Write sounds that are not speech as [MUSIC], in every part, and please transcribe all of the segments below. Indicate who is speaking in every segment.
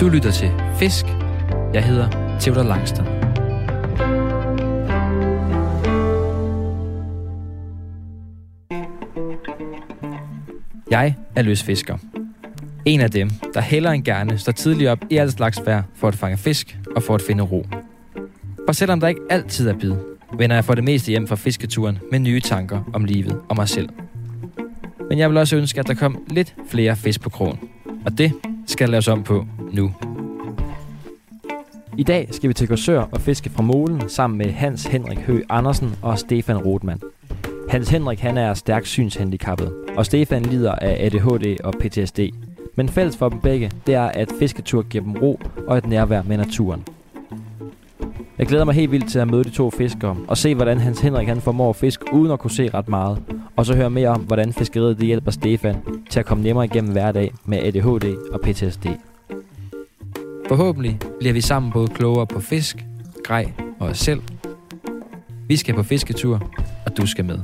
Speaker 1: Du lytter til Fisk. Jeg hedder Theodor Langstrøm. Jeg er løsfisker. En af dem, der hellere end gerne står tidligt op i alt slags vejr for at fange fisk og for at finde ro. For selvom der ikke altid er bid, vender jeg for det meste hjem fra fisketuren med nye tanker om livet og mig selv. Men jeg vil også ønske, at der kom lidt flere fisk på krogen. Og det skal laves om på nu.
Speaker 2: I dag skal vi til Korsør og fiske fra molen sammen med Hans Henrik Hø Andersen og Stefan Rotmann. Hans Henrik han er stærkt synshandicappet, og Stefan lider af ADHD og PTSD. Men fælles for dem begge, det er, at fisketur giver dem ro og et nærvær med naturen. Jeg glæder mig helt vildt til at møde de to fiskere og se, hvordan Hans Henrik han formår at fiske uden at kunne se ret meget. Og så høre mere om, hvordan fiskeriet det hjælper Stefan til at komme nemmere igennem hverdag med ADHD og PTSD.
Speaker 1: Forhåbentlig bliver vi sammen både klogere på fisk, grej og os selv. Vi skal på fisketur, og du skal med.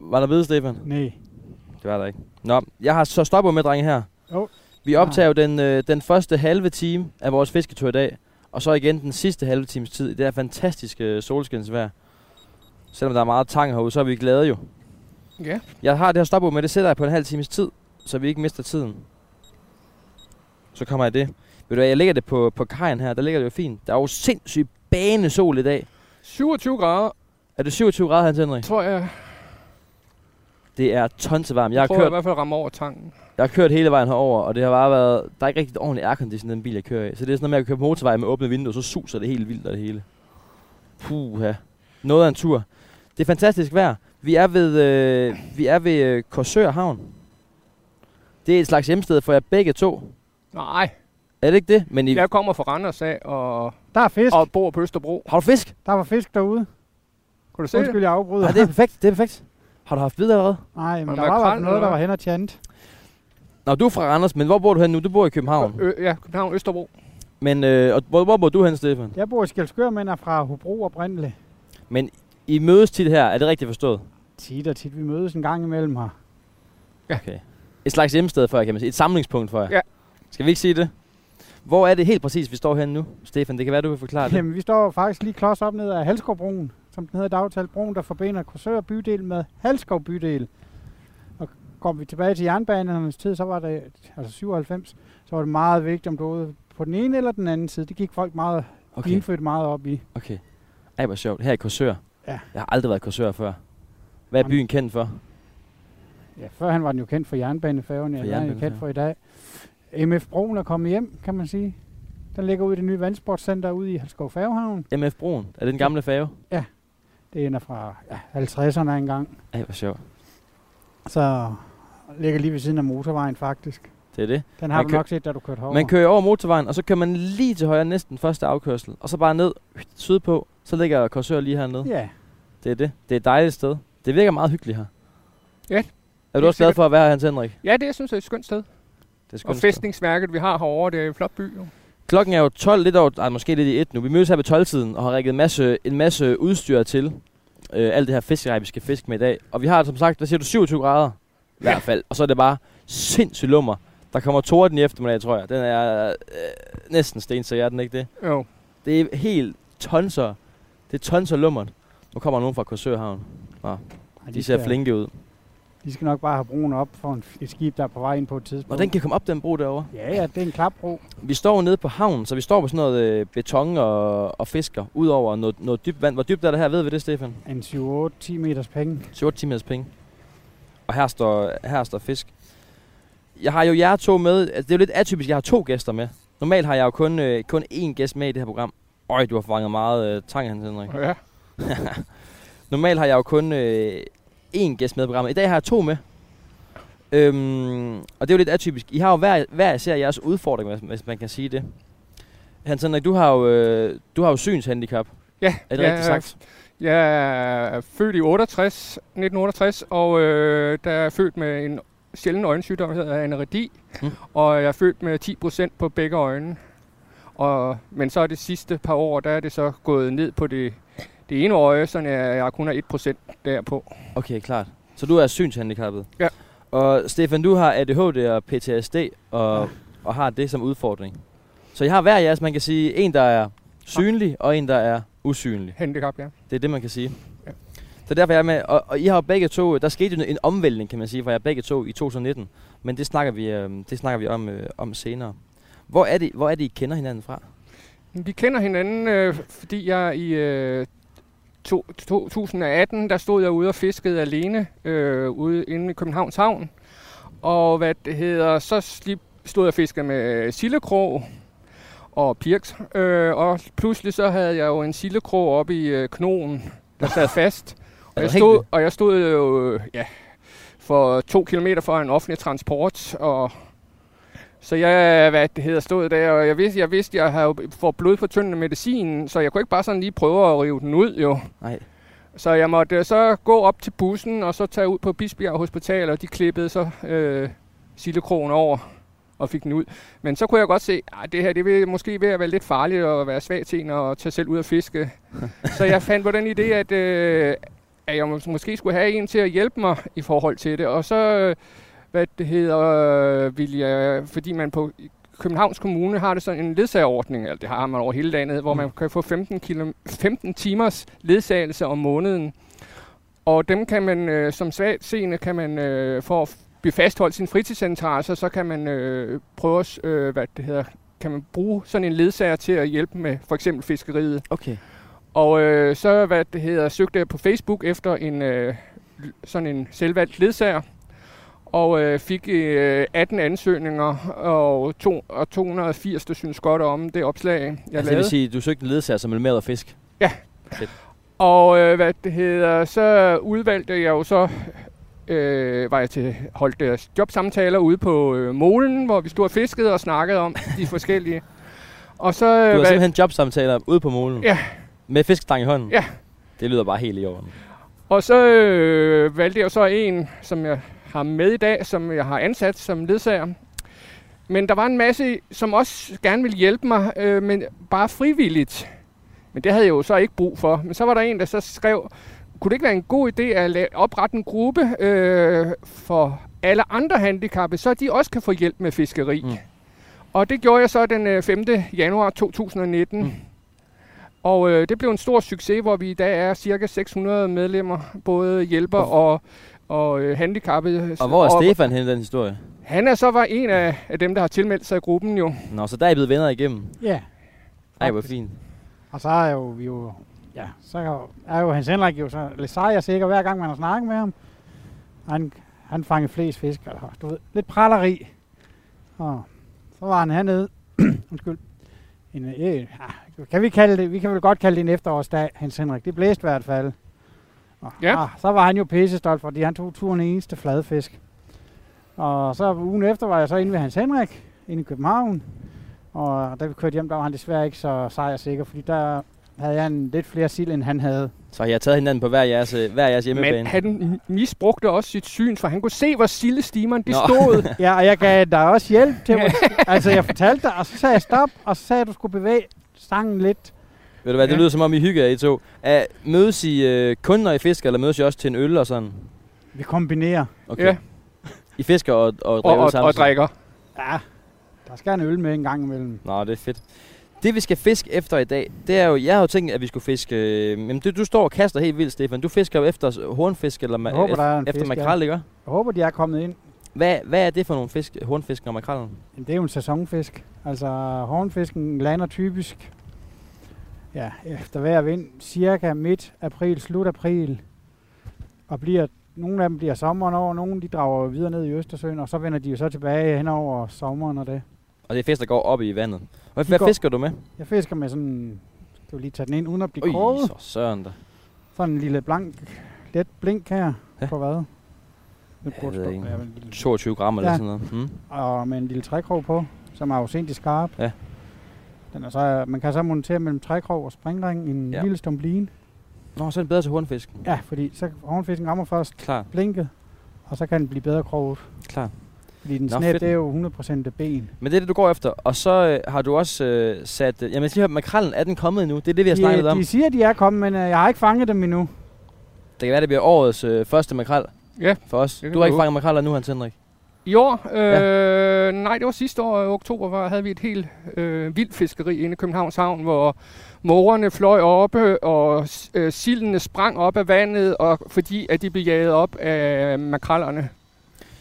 Speaker 2: Var der ved, Stefan?
Speaker 3: Nej.
Speaker 2: Det var der ikke. Nå, jeg har så stopper med, drenge her.
Speaker 3: Jo.
Speaker 2: Vi optager jo den, øh, den første halve time af vores fisketur i dag, og så igen den sidste halve times tid i det her fantastiske øh, solskinsvejr. Selvom der er meget tang herude, så er vi glade jo.
Speaker 3: Ja.
Speaker 2: Jeg har det her stopord med, det sætter jeg på en halv times tid, så vi ikke mister tiden. Så kommer jeg det. Ved du hvad, jeg lægger det på, på kajen her, der ligger det jo fint. Der er jo sindssygt banesol i dag.
Speaker 3: 27 grader,
Speaker 2: Er det 27 grader, Hans Henrik?
Speaker 3: tror jeg.
Speaker 2: Det er tonsevarmt. Jeg har
Speaker 3: tror jeg i
Speaker 2: kørt
Speaker 3: hvert fald rammer over tanken.
Speaker 2: Jeg har kørt hele vejen herover, og det har bare været... Der er ikke rigtig ordentlig aircondition i den bil, jeg kører i. Så det er sådan noget med at køre på motorvej med åbne vinduer, så suser det helt vildt og det hele. Puha. Noget af en tur. Det er fantastisk vejr. Vi er ved, øh, vi er ved øh, Korsør Havn. Det er et slags hjemsted for jer begge to.
Speaker 3: Nej,
Speaker 2: Er det ikke det? Men I,
Speaker 3: jeg kommer fra Randers af og,
Speaker 4: Der er fisk.
Speaker 3: og bor på Østerbro.
Speaker 2: Har du fisk?
Speaker 4: Der var fisk derude.
Speaker 3: Kunne du se det?
Speaker 4: Undskyld, jeg afbryder.
Speaker 2: Nej, det er perfekt. Det er perfekt. Har du haft bid allerede?
Speaker 4: [LAUGHS] Nej, men
Speaker 3: Var det
Speaker 4: der var i hvert
Speaker 3: makrel,
Speaker 4: fald noget, der
Speaker 3: eller hvad?
Speaker 4: var hen og tjant.
Speaker 2: Nå, du er fra Randers, men hvor bor du hen nu? Du bor i København.
Speaker 3: Ø- ja, København Østerbro.
Speaker 2: Men øh, og hvor, hvor bor du hen, Stefan?
Speaker 4: Jeg bor i Skelskør, men er fra Hobro og Brindle.
Speaker 2: Men I mødes tit her. Er det rigtigt forstået?
Speaker 4: Tit og tit, vi mødes en gang imellem her.
Speaker 2: Et slags hjemsted for jer, kan man sige. Et samlingspunkt for jer.
Speaker 3: Ja.
Speaker 2: Skal vi ikke sige det? Hvor er det helt præcis, vi står henne nu, Stefan? Det kan være, du vil forklare det.
Speaker 4: Jamen, vi står faktisk lige klods op ned ad Halskovbroen, som den hedder i dagtal. Broen, der forbinder Korsør bydel med Halskov bydel. Og kom vi tilbage til jernbanernes tid, så var det, altså 97, så var det meget vigtigt, om du var ude på den ene eller den anden side. Det gik folk meget, okay.
Speaker 2: Okay,
Speaker 4: indfødt meget op i.
Speaker 2: okay. Ej, hvor sjovt. Her i Korsør.
Speaker 4: Ja.
Speaker 2: Jeg har aldrig været i Korsør før. Hvad er
Speaker 4: Jamen.
Speaker 2: byen kendt for?
Speaker 4: Ja, før han var den jo kendt for jernbanefærgen,
Speaker 2: For
Speaker 4: ja, den er jo
Speaker 2: jernbanefærgen.
Speaker 4: kendt for i dag. MF Broen er kommet hjem, kan man sige. Den ligger ude i det nye vandsportscenter ude i Halskov Færgehavn.
Speaker 2: MF Broen. Er det den gamle fave?
Speaker 4: Det er en af fra ja, 50'erne engang.
Speaker 2: Ej, hvor sjovt.
Speaker 4: Så ligger lige ved siden af motorvejen faktisk.
Speaker 2: Det er det.
Speaker 4: Den har
Speaker 2: Man
Speaker 4: man du
Speaker 2: kø-
Speaker 4: nok set, da du kørte herover.
Speaker 2: Man kører over motorvejen, og så kører man lige til højre næsten første afkørsel. Og så bare ned øh, sydpå. Så ligger Korsør lige hernede.
Speaker 4: Ja,
Speaker 2: Det er det. Det er et dejligt sted. Det virker meget hyggeligt her.
Speaker 3: Ja,
Speaker 2: Er du
Speaker 3: helt
Speaker 2: også glad
Speaker 3: sikkert.
Speaker 2: for at være her, Hans Henrik?
Speaker 3: Ja, det jeg synes jeg er et skønt sted.
Speaker 2: Det er skønt
Speaker 3: Og
Speaker 2: sted.
Speaker 3: fæstningsværket, vi har herovre, det er en flot by. Jo.
Speaker 2: Klokken er jo 12, lidt over, ej, måske lidt i 1 nu. Vi mødes her ved 12-tiden og har rækket en masse, en masse udstyr til. Øh, alt det her fiskerej, vi skal fiske med i dag. Og vi har som sagt, hvad siger du, 27 grader? I hvert fald. Og så er det bare sindssygt lummer. Der kommer torden i eftermiddag, tror jeg. Den er øh, næsten sten, så er den ikke det.
Speaker 3: Jo.
Speaker 2: Det er helt tonser. Det er tonser lummert. Nu kommer nogen fra Korsørhavn.
Speaker 4: Ej,
Speaker 2: De ser flinke ud.
Speaker 4: De skal nok bare have broen op for en, et skib, der er på vej ind på et tidspunkt.
Speaker 2: Og den kan komme op, den bro derovre.
Speaker 4: Ja, ja, det er en klapbro.
Speaker 2: Vi står jo nede på havnen, så vi står på sådan noget øh, beton og, og fisker. Udover noget, noget dybt vand. Hvor dybt er det her? Ved vi det, Stefan?
Speaker 4: En 7-8-10 meters penge.
Speaker 2: 7 timers penge. Og her står, her står fisk. Jeg har jo jer to med. Altså, det er jo lidt atypisk, jeg har to gæster med. Normalt har jeg jo kun, øh, kun én gæst med i det her program. Øj, du har fanget meget øh, tang, Hans Henrik.
Speaker 3: Ja.
Speaker 2: Normalt har jeg jo kun øh, én gæst med i programmet. I dag har jeg to med. Øhm, og det er jo lidt atypisk. I har jo hver, hver især jeres udfordring, hvis, hvis man kan sige det. Hans Henrik, du har jo, øh, du har jo synshandicap.
Speaker 3: Ja,
Speaker 2: Er det
Speaker 3: jeg,
Speaker 2: rigtigt sagt?
Speaker 3: Jeg er født i 68, 1968, og øh, der er jeg født med en sjælden øjensygdom, der hedder aneredi,
Speaker 2: Mm.
Speaker 3: mm. og jeg er født med 10% på begge øjne. Og, men så er det sidste par år, der er det så gået ned på det, det ene øje, så jeg, jeg kun har 1% derpå.
Speaker 2: Okay, klart. Så du er synshandicappet?
Speaker 3: Ja.
Speaker 2: Og Stefan, du har ADHD og PTSD og, og har det som udfordring. Så jeg har hver jeres, man kan sige, en der er synlig og en der er usynlig.
Speaker 3: Handicap, ja.
Speaker 2: Det er det, man kan sige.
Speaker 3: Ja.
Speaker 2: Så derfor er jeg med, og, og I har jo begge to, der skete jo en omvæltning, kan man sige, for jeg begge to i 2019. Men det snakker vi, øh, det snakker vi om, øh, om senere. Hvor er, det, hvor er det, I kender hinanden fra?
Speaker 3: Vi kender hinanden, øh, fordi jeg i øh, to, 2018, der stod jeg ude og fiskede alene øh, ude inde i Københavns Havn. Og hvad det hedder, så slip, stod jeg og fiskede med øh, sillekrog og pirks. Øh, og pludselig så havde jeg jo en sillekrog oppe i øh, knogen, der sad fast. Og jeg
Speaker 2: Altså,
Speaker 3: stod,
Speaker 2: hængte?
Speaker 3: og jeg stod jo øh, ja, for to kilometer fra en offentlig transport, og så jeg, hvad det hedder, stod der, og jeg vidste, jeg vidste, jeg havde for blod på tyndende medicin, så jeg kunne ikke bare sådan lige prøve at rive den ud, jo.
Speaker 2: Nej.
Speaker 3: Så jeg måtte øh, så gå op til bussen, og så tage ud på Bisbjerg Hospital, og de klippede så øh, sillekrogen over og fik den ud. Men så kunne jeg godt se, at det her det vil måske ved at være lidt farligt at være svag til en og tage selv ud og fiske. så jeg fandt på den idé, at, øh, at jeg mås- måske skulle have en til at hjælpe mig i forhold til det. Og så, øh, hvad det hedder, øh, vil jeg, fordi man på i Københavns Kommune har det sådan en ledsagerordning, eller det har man over hele landet, hvor man kan få 15, kilo, 15 timers ledsagelse om måneden. Og dem kan man, øh, som svagtseende, kan man øh, for at blive fastholdt sin fritidsinteresser, så kan man øh, prøve at, s- øh, hvad det hedder, kan man bruge sådan en ledsager til at hjælpe med for eksempel fiskeriet.
Speaker 2: Okay.
Speaker 3: Og øh, så hvad det hedder, søgte jeg på Facebook efter en øh, l- sådan en selvvalgt ledsager, og øh, fik øh, 18 ansøgninger, og, to, og 280, der synes godt om det opslag, jeg
Speaker 2: Jeg altså, det
Speaker 3: lavede.
Speaker 2: vil sige, du søgte en ledsager, som ville med at fisk.
Speaker 3: Og øh, hvad det hedder, så udvalgte jeg jo så, øh, var jeg til, holdt deres jobsamtaler ude på øh, molen, hvor vi stod og fiskede og snakkede om de forskellige. Og så, øh,
Speaker 2: Du har
Speaker 3: hvad-
Speaker 2: simpelthen jobsamtaler ude på målen.
Speaker 3: Ja.
Speaker 2: Med fiskestang i hånden.
Speaker 3: Ja.
Speaker 2: Det lyder bare helt i orden.
Speaker 3: Og så øh, valgte jeg så en, som jeg har med i dag, som jeg har ansat som ledsager. Men der var en masse, som også gerne ville hjælpe mig, øh, men bare frivilligt. Men det havde jeg jo så ikke brug for. Men så var der en, der så skrev, kunne det ikke være en god idé at la- oprette en gruppe øh, for alle andre handicappede, så de også kan få hjælp med fiskeri.
Speaker 2: Mm.
Speaker 3: Mm. Og det gjorde jeg så den øh, 5. januar 2019.
Speaker 2: Mm.
Speaker 3: Mm. Og øh, det blev en stor succes, hvor vi i dag er cirka 600 medlemmer, både hjælper og, og øh, handicappede.
Speaker 2: Og hvor er Stefan henne i den historie?
Speaker 3: Han er så var en af, af dem, der har tilmeldt sig i gruppen jo.
Speaker 2: Nå, så der er I blevet venner igennem.
Speaker 4: Ja,
Speaker 2: Ej, hvor fint.
Speaker 4: og så er jo vi jo... Ja, så er jo- er jo Hans Henrik jo så lidt sej og sikker, hver gang man har snakket med ham. Han, han fangede flest fisk, og du ved, lidt praleri. Og så var han hernede, [CLEARS THROAT] undskyld, en, øh, ja, kan vi kalde det, vi kan vel godt kalde det en efterårsdag, Hans Henrik, det blæste i hvert fald. Og,
Speaker 3: Ja.
Speaker 4: ah, så var han jo pissestolt, fordi han tog turen i eneste fladfisk. Og så ugen efter var jeg så inde ved Hans Henrik, inde i København. Og da vi kørte hjem, der var han desværre ikke så sej og sikker, fordi der havde jeg en lidt flere sild, end han havde.
Speaker 2: Så jeg har taget hinanden på hver jeres, øh, hver jeres hjemmebane.
Speaker 3: Men han m- misbrugte også sit syn, for han kunne se, hvor sildestimeren det
Speaker 2: Nå.
Speaker 3: stod.
Speaker 4: Ja, og jeg gav dig også hjælp til [LAUGHS] mig. altså, jeg fortalte dig, og så sagde jeg stop, og så sagde jeg, at du skulle bevæge stangen lidt.
Speaker 2: Ved du hvad, det
Speaker 3: Ja.
Speaker 2: lyder som om I hygger jer, I to. Er, mødes I øh, kun, når I fisker, eller mødes I også til en øl og sådan?
Speaker 4: Vi kombinerer.
Speaker 2: [LAUGHS] Okay.
Speaker 3: Ja.
Speaker 2: I fisker og, og,
Speaker 3: og,
Speaker 2: drikker
Speaker 3: og,
Speaker 2: sammen?
Speaker 3: og drikker.
Speaker 4: Ja, der skal en øl med en gang imellem.
Speaker 2: Nå, det er fedt. Det vi skal fiske efter i dag, det er jo, jeg har jo tænkt, at vi skulle fiske, øh, men du, du står og kaster helt vildt, Stefan. Du fisker jo efter s- hornfisk eller ma-
Speaker 4: Jeg håber, der er en
Speaker 2: efter
Speaker 4: fisk, ja.
Speaker 2: makrel, ikke?
Speaker 4: Jeg håber, de er kommet ind.
Speaker 2: Hvad, hvad er det for nogle fisk, hornfisken og makrellen?
Speaker 4: Men det er jo en sæsonfisk. Altså, hornfisken lander typisk ja, efter hver vind, cirka midt april, slut april. Og bliver, nogle af dem bliver sommeren over, nogle de drager videre ned i Østersøen, og så vender de jo så tilbage hen over sommeren og det.
Speaker 2: Og det er fisk, der går op i vandet. Hvad,
Speaker 4: De
Speaker 2: hvad
Speaker 4: går-
Speaker 2: fisker du med?
Speaker 4: Jeg fisker med sådan, skal vi lige tage den ind, uden at blive kroget.
Speaker 2: så søren der.
Speaker 4: Sådan en lille blank, let blink her
Speaker 2: Ja.
Speaker 4: ja. på hvad? Det
Speaker 2: Jeg
Speaker 4: burde
Speaker 2: ved
Speaker 4: stå-
Speaker 2: ikke.
Speaker 4: ja, vel, en lille-
Speaker 2: 22 gram eller
Speaker 4: Ja.
Speaker 2: sådan noget. Hmm.
Speaker 4: og med en lille trækrog på, som er afsindig skarp.
Speaker 2: Ja.
Speaker 4: Den er så, man kan så montere mellem trækrog og springring i en
Speaker 2: Ja.
Speaker 4: ja. lille stumbline.
Speaker 2: Nå, så er det bedre til hornfisken.
Speaker 4: Ja, fordi så hornfisken rammer først
Speaker 2: Klar,
Speaker 4: blinket, og så kan den blive bedre kroget.
Speaker 2: klar.
Speaker 4: Fordi den
Speaker 2: Nå,
Speaker 4: snæb,
Speaker 2: fedt.
Speaker 4: det er jo 100% af ben.
Speaker 2: Men det er det, du går efter. Og så øh, har du også øh, sat... Øh, jamen, jeg skal lige høre, makrellen, er den kommet endnu? Det er det, vi har snakket lidt
Speaker 4: De,
Speaker 2: om.
Speaker 4: de siger, de er kommet, men øh, jeg har ikke fanget dem endnu.
Speaker 2: Det kan være, det bliver årets øh, første makrel.
Speaker 3: Ja,
Speaker 2: for os.
Speaker 3: det kan
Speaker 2: Du har ikke
Speaker 3: vi håbe.
Speaker 2: fanget makreller nu, Hans Henrik.
Speaker 3: I år? Øh, ja. Nej, det var sidste år. I oktober var, havde vi et helt øh, vildt fiskeri inde i Københavns Havn, hvor morerne fløj oppe, og s- øh, sildene sprang op af vandet, og fordi at de blev jaget op af makrallerne.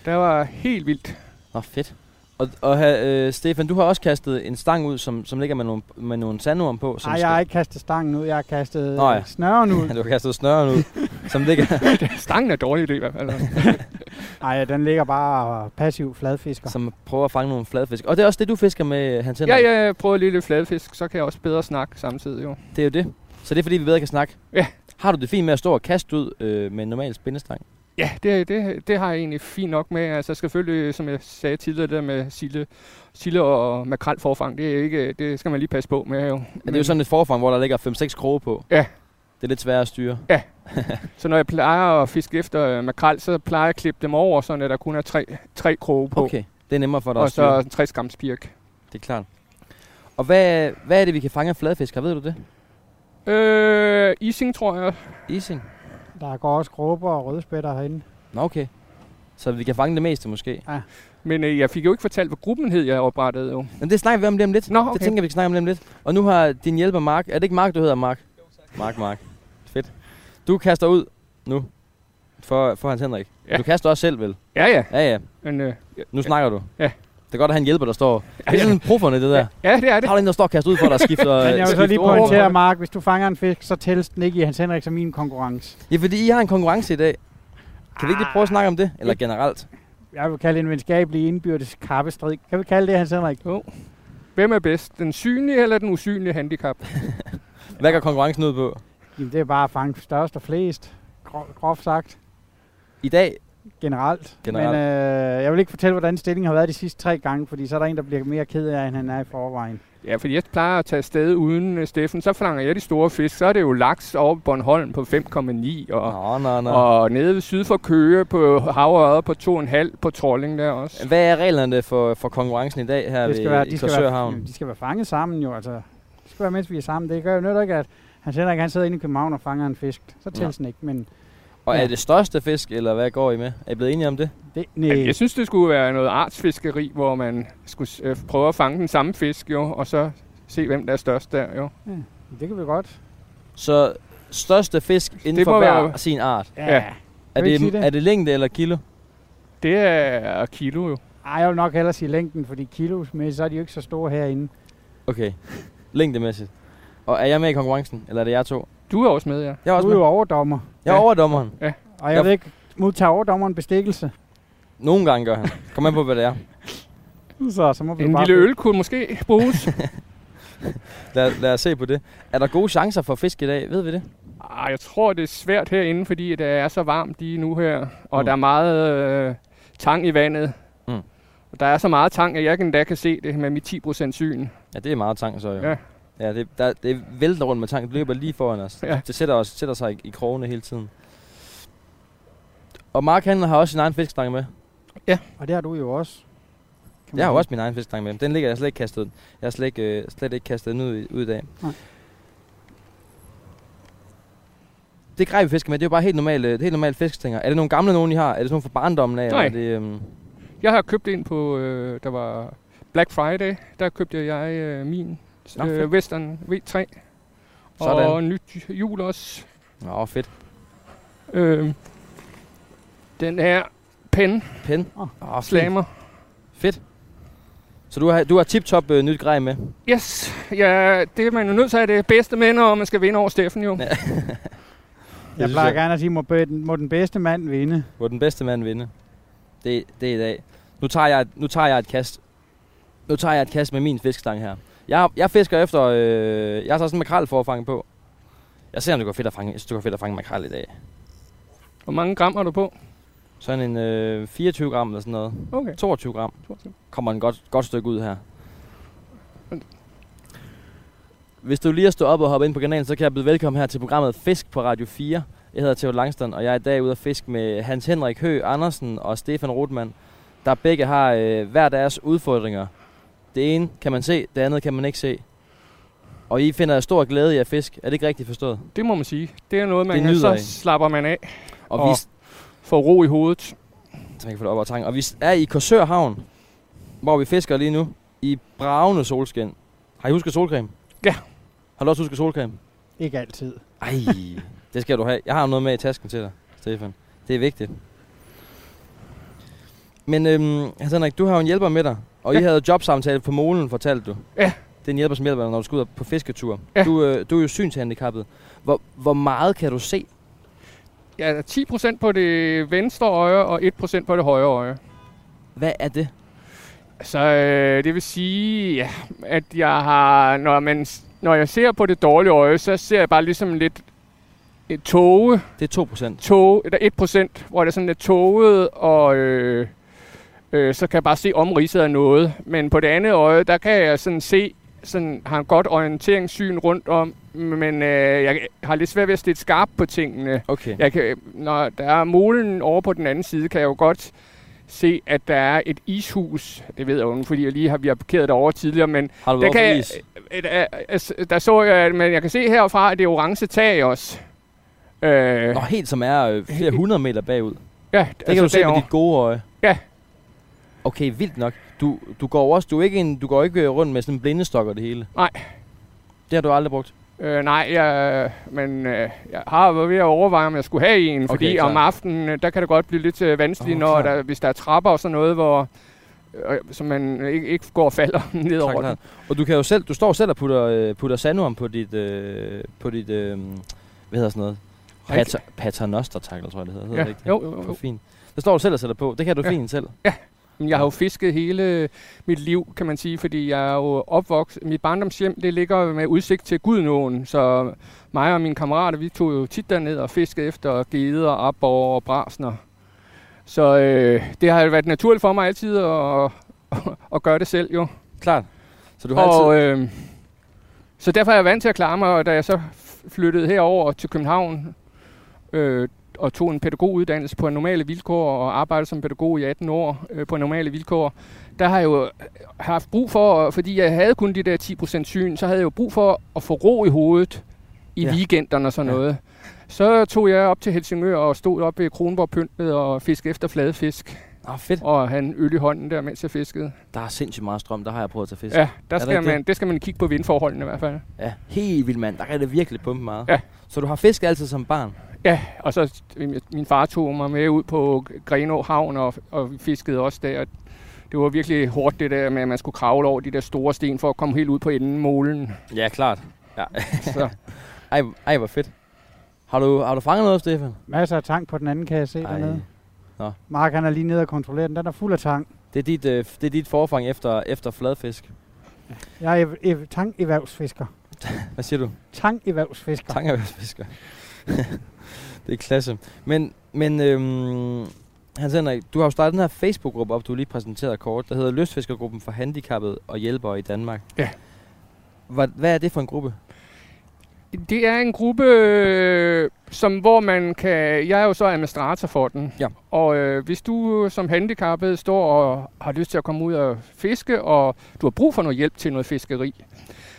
Speaker 3: Der var helt vildt.
Speaker 2: Nå, fedt. Og, og ha- øh, Stefan, du har også kastet en stang ud, som, som ligger med nogle, med nogle sandorm på. Som
Speaker 4: Nej, jeg har ikke kastet stangen ud, jeg har kastet
Speaker 2: Nå [LAUGHS] ja.
Speaker 4: øh, snøren ud.
Speaker 2: du har kastet snøren ud, som ligger...
Speaker 3: Stangen er dårlig idé
Speaker 2: [LAUGHS]
Speaker 3: i hvert fald.
Speaker 4: Nej, den ligger bare og passiv fladfisker.
Speaker 2: som prøver at fange nogle fladfisk. Og det er også det, du fisker med, øh, Hans
Speaker 3: Ja,
Speaker 2: Henrik.
Speaker 3: ja, jeg prøvede lige lidt fladfisk, så kan jeg også bedre snakke samtidig. Jo.
Speaker 2: Det er jo det. Så det er fordi, vi bedre kan snakke.
Speaker 3: Ja.
Speaker 2: Har du det fint med at stå og kaste ud øh, med en normal spændestang?
Speaker 3: Ja, det, det, det har jeg egentlig fint nok med. Altså selvfølgelig, som jeg sagde tidligere, det der med sille, sille og makrelforfang, det, er ikke, det skal man lige passe på med. Jo.
Speaker 2: Ja, det er jo sådan et forfang, hvor der ligger 5-6 kroge på.
Speaker 3: Ja.
Speaker 2: Det er lidt sværere at styre.
Speaker 3: Så når jeg plejer at fiske efter øh, makrel, så plejer jeg at klippe dem over, så der kun er tre, tre kroge på.
Speaker 2: Okay. Det er nemmere for dig
Speaker 3: Og
Speaker 2: at styre.
Speaker 3: så 60 grams pirk.
Speaker 2: Det er klart. Og hvad, hvad er det, vi kan fange af fladfisk? Ved du det?
Speaker 3: Øh, ising, tror jeg.
Speaker 2: Ising?
Speaker 4: Der går også gråber og rødspætter herinde.
Speaker 2: Nå, okay. Så vi kan fange det meste måske.
Speaker 3: Men øh, jeg fik jo ikke fortalt, hvad gruppen hed, jeg oprettede. Jo.
Speaker 2: Men det snakker vi om lige om lidt.
Speaker 3: Nå, okay.
Speaker 2: Det tænker jeg, vi kan snakke om lige om lidt. Og nu har din hjælper Mark... Er det ikke Mark, du hedder Mark? Mark, Mark. Fedt. Du kaster ud nu for, for Hans Henrik.
Speaker 3: Ja.
Speaker 2: Du kaster også selv, vel?
Speaker 3: Ja, ja.
Speaker 2: Ja, ja.
Speaker 3: Men, øh, ja,
Speaker 2: Nu snakker du.
Speaker 3: Ja.
Speaker 2: Det er godt at have en hjælper, der står. Det er sådan profferne, det der. Ja.
Speaker 3: ja, det er det.
Speaker 2: Har du en, der står og kaster ud
Speaker 4: [LAUGHS]
Speaker 2: for dig og øh, skifter,
Speaker 4: Men jeg vil så
Speaker 2: skifter
Speaker 4: lige
Speaker 2: ord?
Speaker 4: pointere, Mark, hvis du fanger en fisk, så tælles den ikke i Hans Henrik som min konkurrence.
Speaker 2: Ja, fordi I har en konkurrence i dag. Kan vi ikke lige prøve at snakke om det? Eller
Speaker 4: Ikke-
Speaker 2: generelt?
Speaker 4: Jeg vil kalde det en venskabelig indbyrdes kappestrid. Kan vi kalde det, Hans Henrik?
Speaker 3: Hvem er bedst? Den synlige eller den usynlige handicap?
Speaker 2: Hvad går konkurrencen ud på?
Speaker 4: Jamen, det er bare at fange størst og flest, gro- groft sagt,
Speaker 2: I dag?
Speaker 4: generelt.
Speaker 2: Generelt.
Speaker 4: Men øh, jeg vil ikke fortælle, hvordan stillingen har været de sidste tre gange, fordi så er der en, der bliver mere ked af, end han er i forvejen.
Speaker 3: Ja, fordi jeg plejer at tage afsted uden øh, Steffen. Så flanger jeg de store fisk. Så er det jo laks over på Bornholm på 5,9 og...
Speaker 2: Nå, nå, nå.
Speaker 3: Og nede ved syd for Køge på Havørøde på 2,5 på Trolling der også.
Speaker 2: Hvad er reglerne for, for konkurrencen i dag her
Speaker 4: det
Speaker 2: ved,
Speaker 4: skal være,
Speaker 2: i
Speaker 4: de, skal være,
Speaker 2: Korsørhavn?
Speaker 4: de skal være fanget sammen jo, altså. Det skal være, mens vi er sammen. Det gør jo netop ikke, at Hans Henrik han sidder inde i København og fanger en fisk. Så tælles den ikke, men
Speaker 2: Og er
Speaker 4: Ja.
Speaker 2: det største fisk, eller hvad går I med? Er I blevet enige om det?
Speaker 4: det,
Speaker 3: Jamen,
Speaker 4: nej,
Speaker 3: Jeg synes, det skulle være noget artsfiskeri, hvor man skulle øh, prøve at fange den samme fisk, jo, og så se, hvem der er størst der, jo.
Speaker 4: det kan vi godt.
Speaker 2: Så største fisk inden
Speaker 3: Det
Speaker 2: for
Speaker 3: må
Speaker 2: hver
Speaker 3: være-
Speaker 2: sin art.
Speaker 3: Ja.
Speaker 2: Er
Speaker 4: Kan vi ikke sige
Speaker 2: det,
Speaker 4: det?
Speaker 2: er det længde eller kilo?
Speaker 3: Det er kilo, jo.
Speaker 4: Ej, jeg vil nok hellere sige længden, fordi kilosmæssigt, så er de jo ikke så store herinde.
Speaker 2: Okay. Længdemæssigt. Og er jeg med i konkurrencen, eller er det jer to?
Speaker 3: Du er også med, ja.
Speaker 2: Jeg er
Speaker 4: Du
Speaker 2: også
Speaker 4: er
Speaker 2: med.
Speaker 4: jo overdommer,
Speaker 2: Jeg er
Speaker 3: Ja.
Speaker 2: overdommeren.
Speaker 4: og jeg
Speaker 2: Ja.
Speaker 4: vil ikke modtage overdommeren bestikkelse.
Speaker 2: Nogle gange gør han. Kom an på, hvad det er.
Speaker 4: Så, så må vi
Speaker 3: En
Speaker 4: bare
Speaker 3: lille øl kunne måske bruges.
Speaker 2: Lad, lad os se på det. Er der gode chancer for fisk i dag? Ved vi det?
Speaker 3: Ej, Ah, jeg tror, det er svært herinde, fordi det er så varmt lige nu her, og
Speaker 2: Mm.
Speaker 3: der er meget øh, tang i vandet.
Speaker 2: Mm.
Speaker 3: Og der er så meget tang, at jeg ikke endda kan se det med mit 10% syn.
Speaker 2: Ja, det er meget tang så jo.
Speaker 3: Ja.
Speaker 2: Ja, det, der, det vælter rundt med tang. Det løber lige foran os.
Speaker 3: Ja.
Speaker 2: Det sætter, os, sætter sig i, i krogene hele tiden. Og Mark han har også sin egen fiskstang med.
Speaker 4: Og det har du jo også. Kan
Speaker 2: Jeg har jo
Speaker 4: man sige.
Speaker 2: også min egen fiskstang med. Den ligger jeg slet ikke kastet. Jeg har slet ikke, øh, slet ikke kastet den ud, i- ud i dag.
Speaker 4: Nej.
Speaker 2: Det grej, vi fisker med, det er jo bare helt normale, det er helt normale fiskstænger. Er det nogle gamle nogen, I har? Er det sådan nogle fra barndommen af?
Speaker 3: Nej.
Speaker 2: Eller er det, øhm,
Speaker 3: Jeg har købt en på, øh, der var Black Friday, der købte jeg øh, min
Speaker 2: Nå, fedt.
Speaker 3: øh, Western V3.
Speaker 2: Sådan.
Speaker 3: Og nyt hjul også.
Speaker 2: Nå, fedt.
Speaker 3: Øh, den her pen
Speaker 2: Pen.
Speaker 4: Åh,
Speaker 2: Åh, fint.
Speaker 3: slammer.
Speaker 2: Fedt. Så du har, du har tip-top øh, nyt grej med.
Speaker 3: Yes, ja, det er man jo nødt til at have det bedste med, når man skal vinde over Steffen jo.
Speaker 2: Ja.
Speaker 4: Jeg
Speaker 2: synes
Speaker 4: plejer
Speaker 2: jeg.
Speaker 4: gerne at sige, må, be- må den bedste mand vinde.
Speaker 2: Hvor den bedste mand vinde. Det, det er i dag. Nu tager, jeg, nu tager jeg et kast. Nu tager jeg et kast med min fiskestang her. Jeg, jeg fisker efter... Øh, jeg har så sådan en makrel for at fange på. Jeg ser, om det går fedt at fange, jeg synes, det går fedt at fange makrel i dag.
Speaker 3: Hvor mange gram har du på?
Speaker 2: Sådan en øh, 24 gram eller sådan noget.
Speaker 3: Okay.
Speaker 2: 22 gram. Kommer en godt, godt stykke ud her. Hvis du lige har stået op og hoppet ind på kanalen, så kan jeg byde velkommen her til programmet Fisk på Radio 4. Jeg hedder Theo Langstrand, og jeg er i dag ude at fiske med Hans Henrik Hø Andersen og Stefan Rotmann, der begge har øh, hver deres udfordringer. Det ene kan man se, det andet kan man ikke se. Og I finder stor glæde i at fiske. Er det ikke rigtigt forstået?
Speaker 3: Det må man sige. Det er noget, man
Speaker 2: Det
Speaker 3: kan,
Speaker 2: nyder
Speaker 3: så
Speaker 2: I.
Speaker 3: slapper man af.
Speaker 2: Og,
Speaker 3: Og
Speaker 2: vi,
Speaker 3: får ro i hovedet.
Speaker 2: Så man kan få det op og tanken. Og vi er i Korsør Havn, hvor vi fisker lige nu, i bravende solskin. Har I husket solcreme?
Speaker 3: Ja.
Speaker 2: Har du også husket solcreme?
Speaker 4: Ikke altid.
Speaker 2: Ej, det skal du have. Jeg har noget med i tasken til dig, Stefan. Det er vigtigt. Men øhm, Hans Henrik, du har jo en hjælper med dig, og ja. I
Speaker 3: Ja.
Speaker 2: havde jobsamtale på molen, fortalte du.
Speaker 3: Ja.
Speaker 2: Det er en hjælper, som hjælper dig, når du skal ud på fisketur.
Speaker 3: Ja.
Speaker 2: Du, øh, du er jo synshandicappet. Hvor, hvor meget kan du se?
Speaker 3: Ja, 10% på det venstre øje og 1% på det højre øje.
Speaker 2: Hvad er det?
Speaker 3: Så øh, det vil sige, ja, at jeg har, når, man, s- når jeg ser på det dårlige øje, så ser jeg bare ligesom lidt et tåge,
Speaker 2: Det er 2%.
Speaker 3: tåge, eller 1%, hvor det er sådan lidt tåget, og øh, øh, så kan jeg bare se omridset af noget. Men på det andet øje, der kan jeg sådan se, sådan har en godt orienteringssyn rundt om, men øh, jeg har lidt svært ved at stille skarp på tingene.
Speaker 2: Okay.
Speaker 3: Jeg kan, når der er molen over på den anden side, kan jeg jo godt se, at der er et ishus. Det ved jeg jo, nu, fordi jeg lige har, vi har parkeret derovre tidligere, men
Speaker 2: Har du været
Speaker 3: det kan
Speaker 2: kan...
Speaker 3: jeg,
Speaker 2: is?
Speaker 3: et, øh, altså, der så jeg, at- men jeg kan se herfra, at det er orange tag også. Øh,
Speaker 2: Nå, helt som er øh, flere hundrede meter bagud. Det
Speaker 3: ja,
Speaker 2: altså, kan du se med dit gode øje.
Speaker 3: Ja.
Speaker 2: Okay, vildt nok. Du, du går jo også, du, er ikke en, du går ikke øh, rundt med sådan en blindestok og det hele.
Speaker 3: Nej.
Speaker 2: Det har du aldrig brugt.
Speaker 3: Øh, nej, jeg, men øh, jeg har været ved at overveje, om jeg skulle have en, fordi
Speaker 2: Okay, klar.
Speaker 3: om aftenen, øh, der kan det godt blive lidt øh, vanskeligt,
Speaker 2: Åh,
Speaker 3: oh, når
Speaker 2: klar.
Speaker 3: der, hvis der er trapper og sådan noget, hvor øh, så man ikke, ikke går og falder [LAUGHS] ned
Speaker 2: Tak,
Speaker 3: over
Speaker 2: klart.
Speaker 3: den.
Speaker 2: Og du kan jo selv, du står selv og putter, øh, putter sandorm på dit, øh, på dit, øh, hvad hedder sådan noget?
Speaker 3: Rik.
Speaker 2: Pater, paternoster tackle, tror jeg det hedder. hedder
Speaker 3: Ja,
Speaker 2: det ikke det?
Speaker 3: jo, jo,
Speaker 2: Det er
Speaker 3: jo.
Speaker 2: fint. Det står du selv og sætter på. Det kan du
Speaker 3: Ja.
Speaker 2: fint selv.
Speaker 3: Men Jeg har jo fisket hele mit liv, kan man sige, fordi jeg er jo opvokset. Mit barndomshjem, det ligger med udsigt til Gudenåen, så mig og mine kammerater, vi tog jo tit derned og fiskede efter geder, abborre og brasner. Så øh, det har jo været naturligt for mig altid at, at gøre det selv, jo.
Speaker 2: Klart. Så du har altid...
Speaker 3: Og, øh, så derfor er jeg vant til at klare mig, og da jeg så f- flyttede herover til København øh, og tog en pædagoguddannelse på normale vilkår og arbejdede som pædagog i 18 år øh, på normale vilkår, der har jeg jo haft brug for, fordi jeg havde kun de der 10% syn, så havde jeg jo brug for at få ro i hovedet i
Speaker 2: Ja.
Speaker 3: ja. weekenderne og sådan
Speaker 2: Ja.
Speaker 3: noget. Så tog jeg op til Helsingør og stod op ved Kronborg Pyntet og fiskede efter fladfisk
Speaker 2: Ah, fedt.
Speaker 3: og havde en øl i hånden der, mens jeg fiskede.
Speaker 2: Der er sindssygt meget strøm. Der har jeg prøvet at tage fisk.
Speaker 3: Ja, der
Speaker 2: der
Speaker 3: skal
Speaker 2: ikke det?
Speaker 3: man, det skal man kigge på vindforholdene i hvert fald.
Speaker 2: ja. Helt vildt, mand. Der kan det virkelig pumpe meget.
Speaker 3: Ja.
Speaker 2: Så du har fisket altid som barn.
Speaker 3: Ja, og så min- min far tog mig med ud på Grenå Havn og, og vi fiskede også der. og Det var virkelig hårdt det der med, at man skulle kravle over de der store sten for at komme helt ud på enden af molen.
Speaker 2: Ja, klart.
Speaker 3: Så,
Speaker 2: Ej, ej hvor fedt. Har du, har du fanget noget, Stefan?
Speaker 4: Masser af tang på den anden, kan jeg se Ej. dernede. Mark, han er lige nede og kontrollerer den. Den er fuld af tang.
Speaker 2: Det er dit, øh, det er dit forfang efter, efter fladfisk.
Speaker 4: Jeg er ev- ev- tang-erhvervsfisker.
Speaker 2: Hvad siger du?
Speaker 4: Tang-erhvervsfisker.
Speaker 2: Tangerørsfisker. [LAUGHS] det er klasse. Men, men øhm, Hans Henrik, du har jo startet den her Facebook-gruppe op, du lige præsenterede kort, der hedder Lystfiskergruppen for Handicappede og Hjælpere i Danmark.
Speaker 3: Ja.
Speaker 2: Hvad, hvad er det for en gruppe?
Speaker 3: det er en gruppe, øh, som, hvor man kan... Jeg er jo så administrator for den.
Speaker 2: Ja.
Speaker 3: Og øh, hvis du som handicappet står og har lyst til at komme ud og fiske, og du har brug for noget hjælp til noget fiskeri,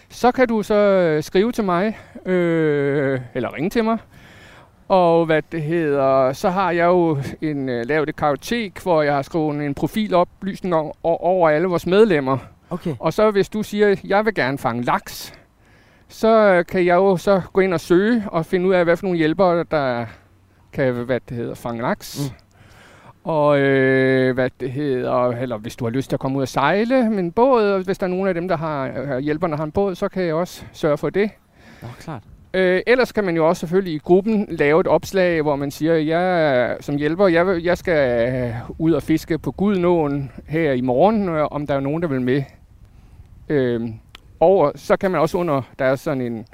Speaker 3: så kan du så øh, skrive til mig, øh, eller ringe til mig. Og hvad det hedder, så har jeg jo en, øh, lavet et kartotek, hvor jeg har skrevet en profiloplysning om, o- over alle vores medlemmer.
Speaker 2: Okay.
Speaker 3: Og så hvis du siger, at jeg vil gerne fange laks, så øh, kan jeg jo så gå ind og søge og finde ud af, hvad for nogle hjælpere, der kan, hvad det hedder, fange laks. Mm. Og øh, hvad det hedder, eller hvis du har lyst til at komme ud og sejle med en båd, og hvis der er nogen af dem, der har, øh, hjælperne har en båd, så kan jeg også sørge for det.
Speaker 2: Nå, klart.
Speaker 3: Øh, ellers kan man jo også selvfølgelig i gruppen lave et opslag, hvor man siger, jeg som hjælper, jeg, vil- jeg skal øh, ud og fiske på Gudnåen her i morgen, øh, om der er nogen, der vil med. Øh, og så kan man også under, der er sådan en,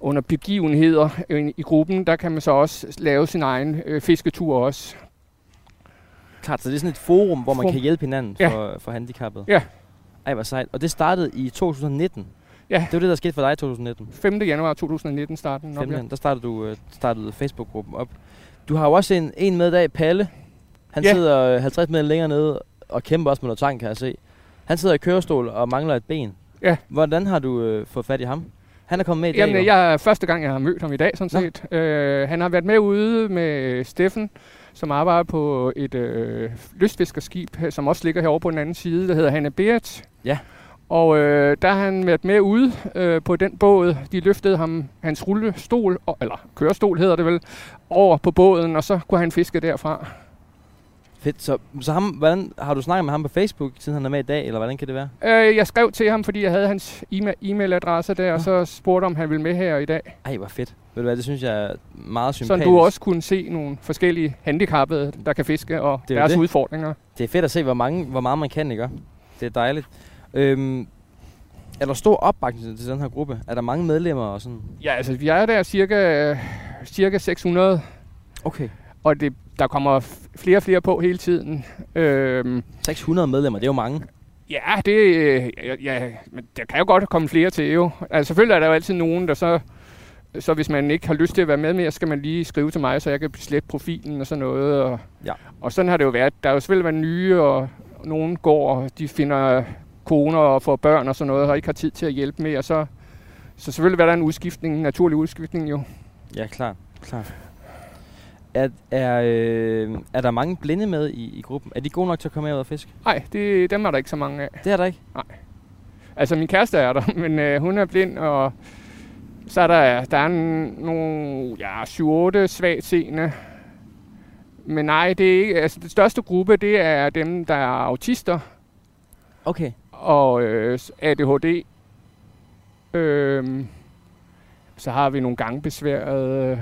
Speaker 3: under begivenheder øh, i gruppen, der kan man så også lave sin egen øh, fisketur også.
Speaker 2: Klart, så det er sådan et forum, hvor man
Speaker 3: Forum.
Speaker 2: kan hjælpe hinanden
Speaker 3: Ja.
Speaker 2: for, for handicappede.
Speaker 3: Ja.
Speaker 2: Ej, hvor sejt. Og det startede i 2019.
Speaker 3: Ja.
Speaker 2: Det var det, der skete for dig i 2019.
Speaker 3: 5. januar 2019 starten. op, ja.
Speaker 2: Femten, der startede du øh, startede Facebook-gruppen op. Du har jo også en, en med i dag, Palle. Han
Speaker 3: Ja.
Speaker 2: sidder øh, 50 meter længere nede og kæmper også med noget tang, kan jeg se. Han sidder i kørestol og mangler et ben.
Speaker 3: Ja.
Speaker 2: Hvordan har du øh, fået fat i ham? Han er kommet med i dag.
Speaker 3: Jamen,
Speaker 2: jo.
Speaker 3: jeg er første gang, jeg har mødt ham i dag, sådan
Speaker 2: Nå.
Speaker 3: set. Øh, han har været med ude med Steffen, som arbejder på et øh, lystfiskerskib, her- som også ligger herovre på den anden side, der hedder Hanne Beert.
Speaker 2: Ja.
Speaker 3: Og øh, der har han været med ude øh, på den båd. De løftede ham, hans rullestol, og- eller kørestol hedder det vel, over på båden, og så kunne han fiske derfra.
Speaker 2: Fedt. Så, så ham, hvordan, har du snakket med ham på Facebook, siden han er med i dag, eller hvordan kan det være?
Speaker 3: Øh, jeg skrev til ham, fordi jeg havde hans e-ma- e-mailadresse der, og så spurgte om han ville med her i dag.
Speaker 2: Ej, hvor fedt. Ved du hvad, det synes jeg er meget
Speaker 3: Så
Speaker 2: sympatisk.
Speaker 3: du også kunne se nogle forskellige handicappede, der kan fiske, og
Speaker 2: Det er jo
Speaker 3: deres
Speaker 2: det.
Speaker 3: udfordringer.
Speaker 2: Det er fedt at se, hvor, mange, hvor meget man kan, ikke? Det er dejligt. Øhm, er der stor opbakning til den her gruppe? Er der mange medlemmer og sådan?
Speaker 3: Ja, altså vi er der cirka, cirka 600,
Speaker 2: Okay.
Speaker 3: og det, der kommer f- flere og flere på hele tiden. Øhm,
Speaker 2: 600 medlemmer, det er jo mange.
Speaker 3: ja, det, øh, ja, ja, men der kan jo godt komme flere til jo. Altså selvfølgelig er der jo altid nogen, der så, så hvis man ikke har lyst til at være med mere, skal man lige skrive til mig, så jeg kan slette profilen og sådan noget. Og,
Speaker 2: Ja.
Speaker 3: og sådan har det jo været. Der er jo selvfølgelig været nye, og nogen går, og de finder koner og får børn og sådan noget, og ikke har tid til at hjælpe mere. Så, så selvfølgelig var der en udskiftning, en naturlig udskiftning jo.
Speaker 2: Ja, klar. klar. Er, er, øh, er der mange blinde med i, i gruppen? Er de gode nok til at komme herud og fiske?
Speaker 3: Nej, det, dem er der ikke så mange af.
Speaker 2: Det er der ikke.
Speaker 3: Altså, min kæreste er der, [LAUGHS] men øh, hun er blind, og så er der, der er en, nogle ja, 7-8 svagt seende. Men nej, det er ikke, altså, den største gruppe, det er dem, der er autister
Speaker 2: Okay.
Speaker 3: og øh, ADHD. Øhm, så har vi nogle gangbesværede. øh,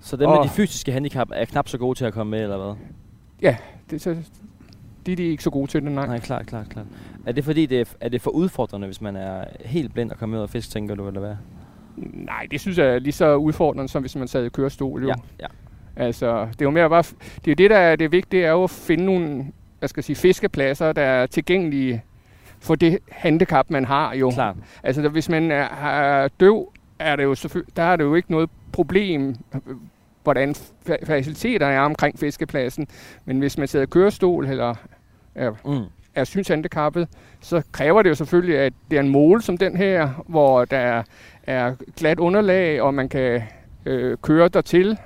Speaker 2: Så dem med
Speaker 3: Åh.
Speaker 2: de fysiske handicap er knap så gode til at komme med, eller hvad?
Speaker 3: Det, så, de, de er ikke så gode til det, nej.
Speaker 2: Nej, klart, klart, klart. Er det fordi, det er, er det for udfordrende, hvis man er helt blind og kommer ud og fisk, tænker du, eller hvad?
Speaker 3: Nej, det synes jeg er lige så udfordrende, som hvis man sad i kørestol. Jo.
Speaker 2: Ja, ja.
Speaker 3: Altså, det er jo mere bare... f- Det er jo det, der er det vigtige, er jo at finde nogle, jeg skal sige, fiskepladser, der er tilgængelige for det handicap, man har jo.
Speaker 2: Klart.
Speaker 3: Altså, der- hvis man er, er døv, er det jo selvfølgelig, der er det jo ikke noget problem, øh, hvordan fa- faciliteterne er omkring fiskepladsen. Men hvis man sidder i kørestol eller er,
Speaker 2: Mm.
Speaker 3: er synshandicappet, så kræver det jo selvfølgelig, at det er en måle som den her, hvor der er, er glat underlag, og man kan øh, køre dertil.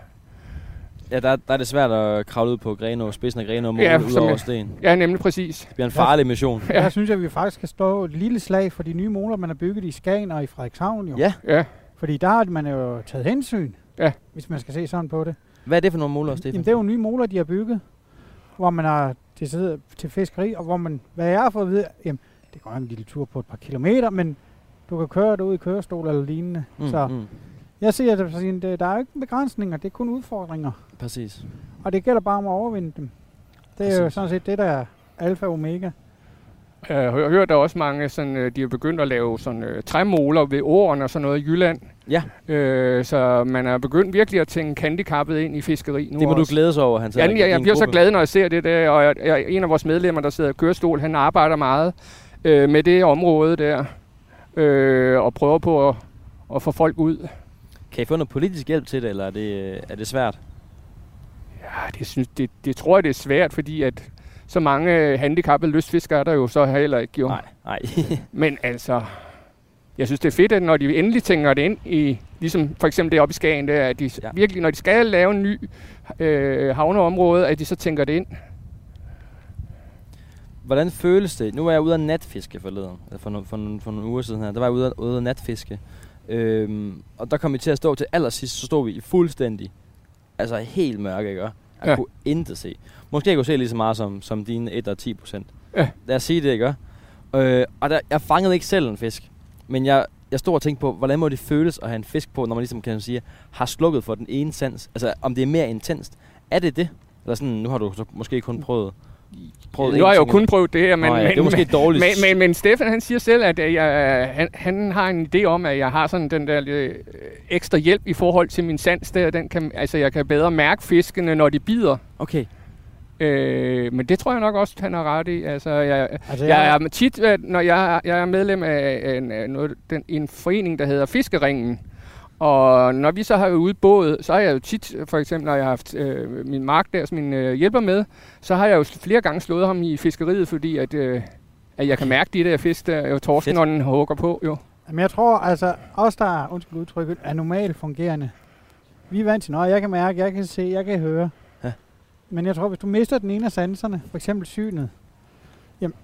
Speaker 2: Ja, der, der er det svært at kravle ud på Grenå, spidsen af Grenå og måle
Speaker 3: Ja,
Speaker 2: ud
Speaker 3: som
Speaker 2: over
Speaker 3: jeg-
Speaker 2: sten.
Speaker 3: Ja, nemlig præcis.
Speaker 2: Det bliver en farlig mission.
Speaker 4: Ja. Der synes jeg, at vi faktisk skal stå et lille slag for de nye moler, man har bygget i Skagen og i Frederikshavn. Jo.
Speaker 2: Ja.
Speaker 3: Ja,
Speaker 4: Fordi der har man jo taget hensyn,
Speaker 3: Ja.
Speaker 4: hvis man skal se sådan på det.
Speaker 2: Hvad er det for nogle måler, Stefan?
Speaker 4: Jamen, det er jo nye moler, de har bygget, hvor man har det sidder til fiskeri, og hvor man, hvad jeg har fået at vide, jamen, det går en lille tur på et par kilometer, men du kan køre det ud i kørestol eller lignende. Mm, så
Speaker 2: Mm, mm.
Speaker 4: jeg siger, det, for at sige, det- der er jo ikke begrænsninger, det er kun udfordringer.
Speaker 2: Præcis.
Speaker 4: Og det gælder bare om at overvinde dem. Det er jo
Speaker 2: Præcis.
Speaker 4: sådan set det, der er alfa og omega.
Speaker 3: jeg Øh, har hørt, der er også mange, sådan, øh, de har begyndt at lave sådan, øh, træmåler ved åren og sådan noget i Jylland.
Speaker 2: Ja.
Speaker 3: Øh, så man er begyndt virkelig at tænke handicappet ind i fiskeri nu
Speaker 2: Det må du
Speaker 3: også.
Speaker 2: glædes over, han
Speaker 3: Ja, jeg, jeg bliver så glad, når jeg ser det der, og jeg, jeg, en af vores medlemmer, der sidder i kørestol, han arbejder meget øh, med det område der, øh, og prøver på at, at få folk ud.
Speaker 2: Kan I få noget politisk hjælp til det, eller er det, øh, er det svært?
Speaker 3: Ja, det, synes, det, det tror jeg, det er svært, fordi at så mange øh, handicappede lystfiskere er der jo så heller ikke. Jo.
Speaker 2: Nej, nej. [LAUGHS]
Speaker 3: Men altså, jeg synes, det er fedt, at når de endelig tænker det ind i, ligesom for eksempel det oppe i Skagen, der, at de
Speaker 2: Ja.
Speaker 3: ja. virkelig, når de skal lave en ny øh, havneområde, at de så tænker det ind.
Speaker 2: Hvordan føles det? Nu var jeg ude at natfiske forleden, eller for, no, for, no, for nogle uger siden her. Der var jeg ude at, ude at natfiske. Øhm, og der kom vi til at stå til allersidst, så stod vi i fuldstændig, altså helt mørke, ikke? Jeg ja.
Speaker 3: Ja.
Speaker 2: kunne intet se. Måske jeg kunne se lige så meget som, som dine 1 og 10 procent.
Speaker 3: Ja.
Speaker 2: Lad os sige det, ikke? Øh, og der, jeg fangede ikke selv en fisk, men jeg, jeg stod og tænkte på, hvordan må det føles at have en fisk på, når man ligesom kan man sige, har slukket for den ene sans. Altså, om det er mere intenst. Er det det? Eller sådan, nu har du så måske kun prøvet, prøvet
Speaker 3: nu har
Speaker 2: én
Speaker 3: jeg jo
Speaker 2: ting,
Speaker 3: kun prøvet det her, men,
Speaker 2: Nå ja,
Speaker 3: men,
Speaker 2: det er måske et
Speaker 3: men,
Speaker 2: dårligt.
Speaker 3: men, men, men Stefan han siger selv, at øh, jeg, han, han har en idé om, at jeg har sådan den der øh, ekstra hjælp i forhold til min sans der. Den kan, altså, jeg kan bedre mærke fiskene, når de bider.
Speaker 2: Okay,
Speaker 3: Øh, men det tror jeg nok også, han har ret i. Altså, jeg,
Speaker 4: Altså,
Speaker 3: Jeg er tit, øh, når jeg, jeg er medlem af en, af noget, den, en forening, der hedder Fiskeringen. Og når vi så har været ude i båd, så har jeg jo tit, for eksempel når jeg har haft øh, min mark der, som min øh, hjælper med, så har jeg jo flere gange slået ham i fiskeriet, fordi at, øh, at jeg kan mærke de der fisk, der jo torsken,
Speaker 2: Fedt.
Speaker 3: når den hugger på. Jo.
Speaker 4: Jamen, jeg tror altså, os der er, undskyld udtrykket, er normalt fungerende. Vi er vant til noget, jeg kan mærke, jeg kan se, jeg kan høre.
Speaker 2: Ja.
Speaker 4: Ja. Men jeg tror, hvis du mister den ene af sanserne, for eksempel synet, jamen,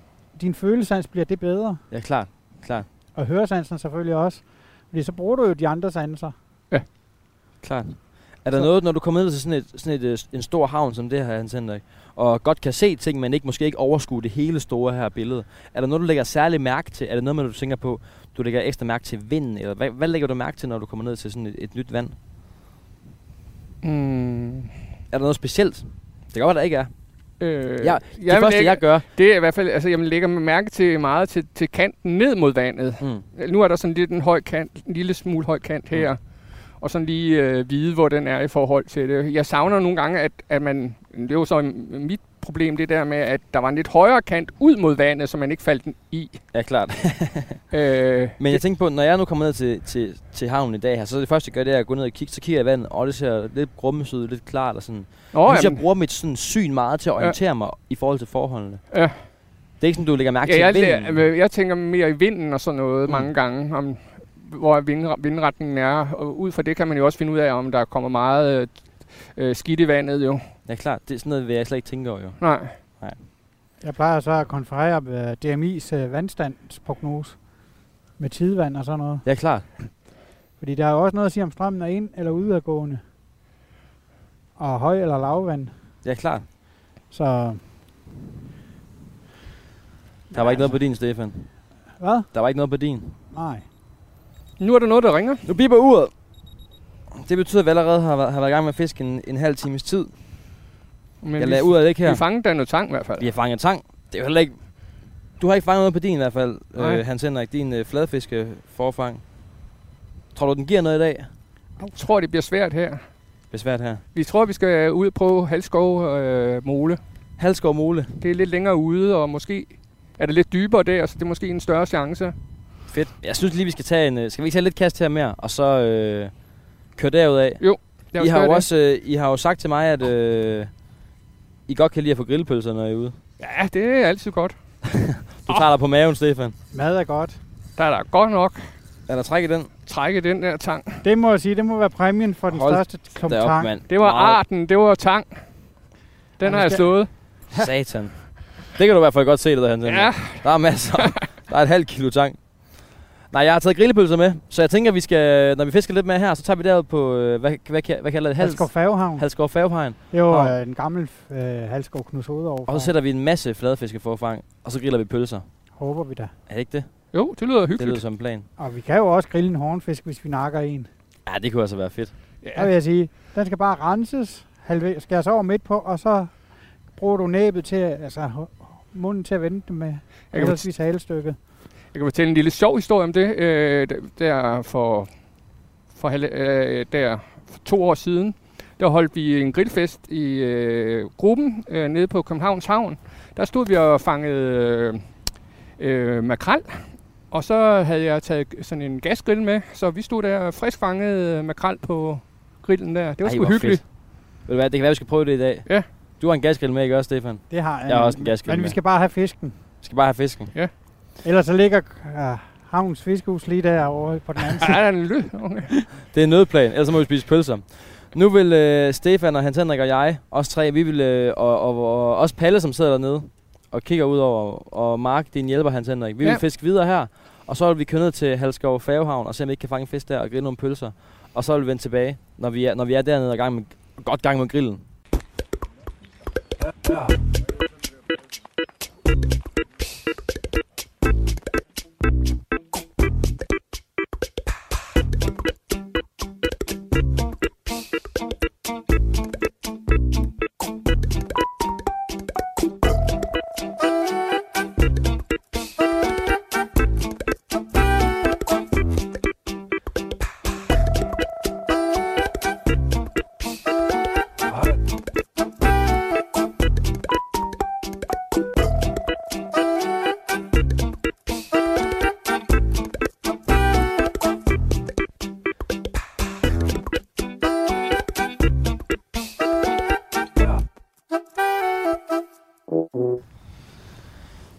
Speaker 4: din følelsesans bliver det bedre.
Speaker 2: Ja, klart. Klart.
Speaker 4: Og høresansen selvfølgelig også. Fordi så bruger du jo de andre sanser.
Speaker 2: Klart. Er der
Speaker 4: Så-
Speaker 2: noget, når du kommer ned til sådan, et, sådan et, øh, en stor havn som det her, Hans Henrik, og godt kan se ting, men ikke måske ikke overskue det hele store her billede, er der noget, du lægger særlig mærke til? Er der noget, man, du tænker på, du lægger ekstra mærke til vinden? Eller hvad, hvad lægger du mærke til, når du kommer ned til sådan et, et nyt vand?
Speaker 3: Mm.
Speaker 2: Er der noget specielt? Det kan godt, være, der ikke er.
Speaker 3: Øh,
Speaker 2: Ja, det første, jeg gør...
Speaker 3: det er i hvert fald, altså jeg lægger mærke til meget til, til kanten ned mod vandet.
Speaker 2: Mm,
Speaker 3: Nu er der sådan lidt en høj kant, en lille smule høj kant her, og sådan lige øh, vide, hvor den er i forhold til det. Jeg savner nogle gange, at, at man, det er jo så mit problem, det der med, at der var en lidt højere kant ud mod vandet, så man ikke faldt i.
Speaker 2: ja, klart.
Speaker 3: Øh,
Speaker 2: Men jeg tænker på, når jeg nu kommer ned til, til, til havnen i dag her, så er det første, jeg gør, det er at gå ned og kigge, så kigger jeg i vandet, og det ser lidt grummes ud, lidt klart og sådan. Jeg
Speaker 3: nå,
Speaker 2: synes, Ligesom jeg
Speaker 3: jamen,
Speaker 2: bruger mit sådan, syn meget til at orientere ja. mig i forhold til forholdene.
Speaker 3: Ja.
Speaker 2: Det er ikke sådan, du lægger mærke
Speaker 3: ja, jeg,
Speaker 2: til vinden.
Speaker 3: læ- øh, jeg tænker mere i vinden og sådan noget
Speaker 2: Mm.
Speaker 3: mm. mange gange, om hvor vindre- vindretningen er. Og ud fra det kan man jo også finde ud af, om der kommer meget øh, øh, skidt i vandet jo.
Speaker 2: Ja, klart. Det er sådan noget, vil jeg slet ikke tænke over, jo.
Speaker 3: Nej.
Speaker 4: Jeg plejer så at konferere med DMI's øh, vandstandsprognose med tidevand og sådan noget.
Speaker 2: Ja, klart.
Speaker 4: Fordi der er jo også noget at sige, om strømmen er ind- eller udadgående. Og høj- eller lavvand.
Speaker 2: Ja, klart.
Speaker 4: Så
Speaker 2: Der var ikke noget på din, Stefan.
Speaker 4: hvad?
Speaker 2: Der var ikke noget på din.
Speaker 4: Nej.
Speaker 3: Nu er der noget, der ringer.
Speaker 2: Nu biber uret. Det betyder, at vi allerede har, været- har været i gang med at fiske en, en halv times tid.
Speaker 3: Men
Speaker 2: Jeg
Speaker 3: vi-
Speaker 2: lader ud af det ikke her.
Speaker 3: Vi fangede da noget tang i hvert fald.
Speaker 2: Vi har fanget tang. Det er jo heller ikke... Du har ikke fanget noget på din i hvert fald,
Speaker 3: Nej.
Speaker 2: øh, Hans Henrik. Din øh, fladfiske forfang. Tror du, den giver noget i dag?
Speaker 3: Jeg tror, det bliver svært her.
Speaker 2: Besvært her.
Speaker 3: Vi tror, vi skal ud på Halskov øh, Mole.
Speaker 2: Halskov Mole.
Speaker 3: Det er lidt længere ude, og måske er det lidt dybere der, så det er måske en større chance.
Speaker 2: Fedt. Jeg synes lige, vi skal tage en... øh, Skal vi ikke tage lidt kast her mere, og så øh, køre derudad?
Speaker 3: Lad
Speaker 2: I
Speaker 3: os
Speaker 2: har,
Speaker 3: gøre
Speaker 2: jo
Speaker 3: det.
Speaker 2: også, øh, I har jo sagt til mig, at øh, I godt kan lide at få grillpølser, når I er ude.
Speaker 3: Ja, det er altid godt.
Speaker 2: Du
Speaker 3: Ah.
Speaker 2: tager dig på maven, Stefan.
Speaker 4: Mad er godt.
Speaker 3: Der er der godt nok
Speaker 2: Er der træk i den?
Speaker 3: trække den der tang.
Speaker 4: Det må jeg sige, det må være præmien for den
Speaker 2: Hold
Speaker 4: største klump
Speaker 2: Derop,
Speaker 4: tang.
Speaker 2: mand.
Speaker 3: Det var
Speaker 2: Meget.
Speaker 3: arten, det var tang. Den
Speaker 4: vi
Speaker 3: har jeg
Speaker 4: skal-
Speaker 3: slået.
Speaker 2: Satan. Det kan du i hvert fald godt se, det der, Hans.
Speaker 3: Ja,
Speaker 2: Der er masser. Der er et halvt kilo tang. Nej, jeg har taget grillpølser med, så jeg tænker, vi skal, når vi fisker lidt mere her, så tager vi derud på, øh, hvad, hvad, hvad, hvad kalder det? Hals,
Speaker 4: Halskov Færgehavn.
Speaker 2: Halskov Favepegn.
Speaker 4: Det var
Speaker 2: Havn.
Speaker 4: øh, en gammel øh, Halskov Knus over.
Speaker 2: Og så sætter vi en masse fladfiskeforfang, og så griller vi pølser.
Speaker 4: Håber vi da.
Speaker 2: Er det ikke det?
Speaker 3: jo, det lyder
Speaker 2: Det lyder
Speaker 3: hyggeligt.
Speaker 2: som en plan.
Speaker 4: Og vi kan jo også grille en hornfisk, hvis vi nakker en.
Speaker 2: Ja, det kunne altså være fedt.
Speaker 4: Der vil
Speaker 3: Ja.
Speaker 4: jeg sige, den skal bare renses, halve, skæres over midt på, og så bruger du næbet til, altså h- munden til at vende den med
Speaker 3: Jeg kan,
Speaker 4: henholdsvis halestykket.
Speaker 3: jeg kan fortælle en lille sjov historie om det. Øh, d- der for, for, halv- øh, der for to år siden, der holdt vi en grillfest i øh, gruppen øh, nede på Københavns Havn. Der stod vi og fangede øh, øh, makrel, og så havde jeg taget sådan en gasgrill med, så vi stod der og frisk fangede øh, makrel på grillen der. Det var
Speaker 2: Ej,
Speaker 3: sgu
Speaker 2: hvor
Speaker 3: hyggeligt.
Speaker 2: Ved du hvad, det kan være, vi skal prøve det i dag.
Speaker 3: Ja.
Speaker 2: Du har en gasgrill med, ikke også, Stefan?
Speaker 4: Det har
Speaker 2: Jeg har også en gasgrill
Speaker 4: Men
Speaker 2: med.
Speaker 4: vi skal bare have fisken.
Speaker 2: Vi skal bare have fisken.
Speaker 4: Ellers så ligger øh, havns fiskehus lige derovre på den
Speaker 2: [LAUGHS]
Speaker 4: anden
Speaker 3: Ja,
Speaker 4: side.
Speaker 3: der er en lyd. Okay.
Speaker 2: Det er en nødplan, ellers så må vi spise pølser. Nu vil øh, Stefan og Hans Henrik og jeg, os tre, vi vil, øh, og, og, og, også Palle, som sidder dernede og kigger ud over, og Mark, din hjælper, Hans Henrik, vi ja.
Speaker 3: Ja.
Speaker 2: vil fiske videre her, og så vil vi køre ned til Halskov Favehavn og se, om vi ikke kan fange en fisk der og grille nogle pølser. Og så vil vi vende tilbage, når vi er, når vi er dernede og gang med, godt gang med grillen.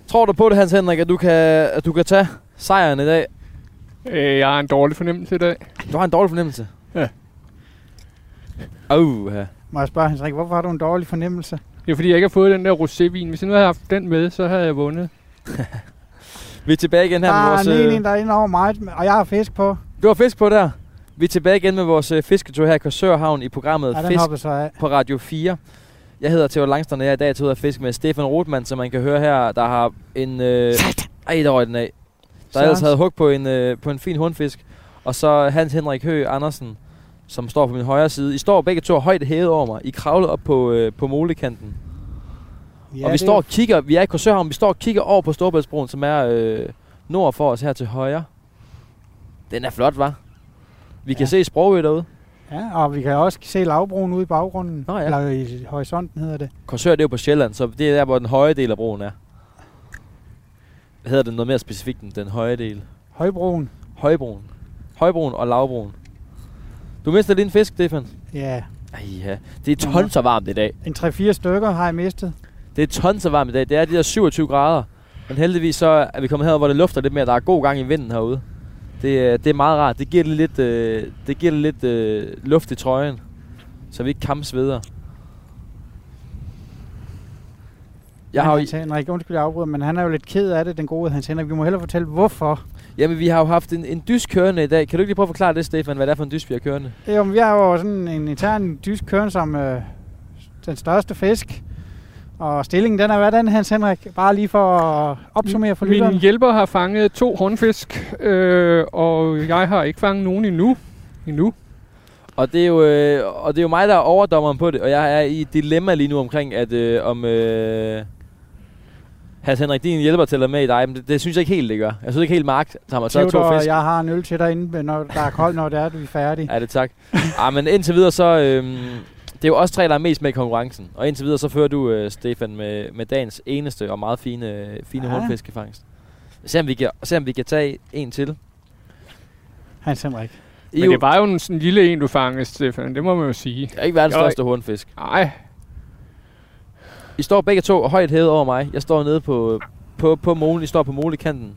Speaker 2: Tror du på det, Hans Henrik, at du kan, at du kan tage sejren i dag?
Speaker 3: Øh, jeg har en dårlig fornemmelse i dag.
Speaker 2: Du har en dårlig fornemmelse.
Speaker 3: Ja.
Speaker 2: Uh, ja.
Speaker 4: Må jeg spørge Henrik, hvorfor har du en dårlig fornemmelse?
Speaker 3: Det er fordi, jeg ikke har fået den der rosévin. Hvis jeg nu havde haft den med, så havde jeg vundet.
Speaker 2: Vi er tilbage igen her
Speaker 4: der
Speaker 2: med vores...
Speaker 4: er en, en,
Speaker 2: Øh,
Speaker 4: der er inde over mig, og jeg har fisk på.
Speaker 2: du har fisk på der. Vi er tilbage igen med vores øh, fisketur her i Korsørhavn i programmet
Speaker 4: Ja, den
Speaker 2: Fisk
Speaker 4: hopper så af.
Speaker 2: på Radio 4. Jeg hedder Theo Langstrand, og jeg er i dag til ud at fiske med Stefan Rotmann, som man kan høre her, der har en... Øh, ej, der røg den af. Der ellers
Speaker 4: Sørens.
Speaker 2: havde hug på en, øh, på en fin hundfisk. Og så Hans Henrik Hø Andersen, som står på min højre side. I står begge to højt hævet over mig. I kravlede op på, øh, på molekanten. Ja, og vi
Speaker 4: det-
Speaker 2: står og kigger, vi er i Korsørhavn, vi står og kigger over på Storbæltsbroen, som er øh, nord for os her til højre. Den er flot, var. Vi ja.
Speaker 4: Ja.
Speaker 2: kan se Sprogø derude.
Speaker 4: Ja, og vi kan også se lavbroen ude i baggrunden.
Speaker 2: Nå ja.
Speaker 4: Eller i horisonten hedder det.
Speaker 2: Korsør, det er jo på Sjælland, så det er der, hvor den høje del af broen er. Hvad hedder den noget mere specifikt end den høje del?
Speaker 4: Højbroen.
Speaker 2: Højbroen. Højbroen og lavbroen. Du mister lige en fisk, Stefan.
Speaker 4: Ja,
Speaker 2: Ej, ja. Det er tons så varmt i dag.
Speaker 4: en 3-4 stykker har jeg mistet.
Speaker 2: Det er tons så varmt i dag. Det er de der 27 grader. Men heldigvis så er vi kommet herud, hvor det lufter lidt mere. Der er god gang i vinden herude. Det, er- det er meget rart. Det giver det lidt, øh, det giver det lidt øh, luft i trøjen. Så vi ikke kampsveder. Jeg har jo,
Speaker 4: Hans Henrik, undskyld, jeg afbryder, men han er jo lidt ked af det, den gode Hans Henrik. Vi må hellere fortælle, hvorfor.
Speaker 2: Jamen, vi har jo haft en, en dysk kørende i dag. Kan du ikke lige prøve at forklare det, Stefan, hvad det er for en dysk, vi har kørende?
Speaker 4: Jo, men vi har jo sådan en intern dysk kørende som øh, den største fisk. Og stillingen, den er hvordan, Hans Henrik? Bare lige for at opsummere for
Speaker 3: Min
Speaker 4: lytteren.
Speaker 3: hjælper har fanget to håndfisk, øh, og jeg har ikke fanget nogen endnu. Endnu.
Speaker 2: Og det, er jo, øh, og det er jo mig, der er overdommeren på det, og jeg er i et dilemma lige nu omkring, at øh, om... Øh, Hans Henrik, din hjælper tæller med i dig, men det, det, synes jeg ikke helt, det gør. Jeg synes ikke helt, Mark tager mig taget to
Speaker 4: Theodor,
Speaker 2: fisk.
Speaker 4: jeg har en øl til dig inde, når der er koldt, når det er, at vi er færdige.
Speaker 2: Ja, det er tak. [LAUGHS] ah, men indtil videre så... Øh, det er jo os tre, der er mest med i konkurrencen. Og indtil videre så fører du, øh, Stefan, med, med dagens eneste og meget fine, øh, fine
Speaker 4: Ja.
Speaker 2: ja. håndfiskefangst. Se om, vi kan, se om vi kan tage en til.
Speaker 4: Hans Henrik.
Speaker 2: I er
Speaker 3: Men
Speaker 2: jo-
Speaker 3: det var jo en sådan lille en, du fangede, Stefan. Det må man jo sige.
Speaker 2: Det er ikke verdens
Speaker 3: Jo.
Speaker 2: største hornfisk.
Speaker 3: Nej,
Speaker 2: I står begge to højt hævet over mig. Jeg står nede på, på, på molen. I står på molekanten.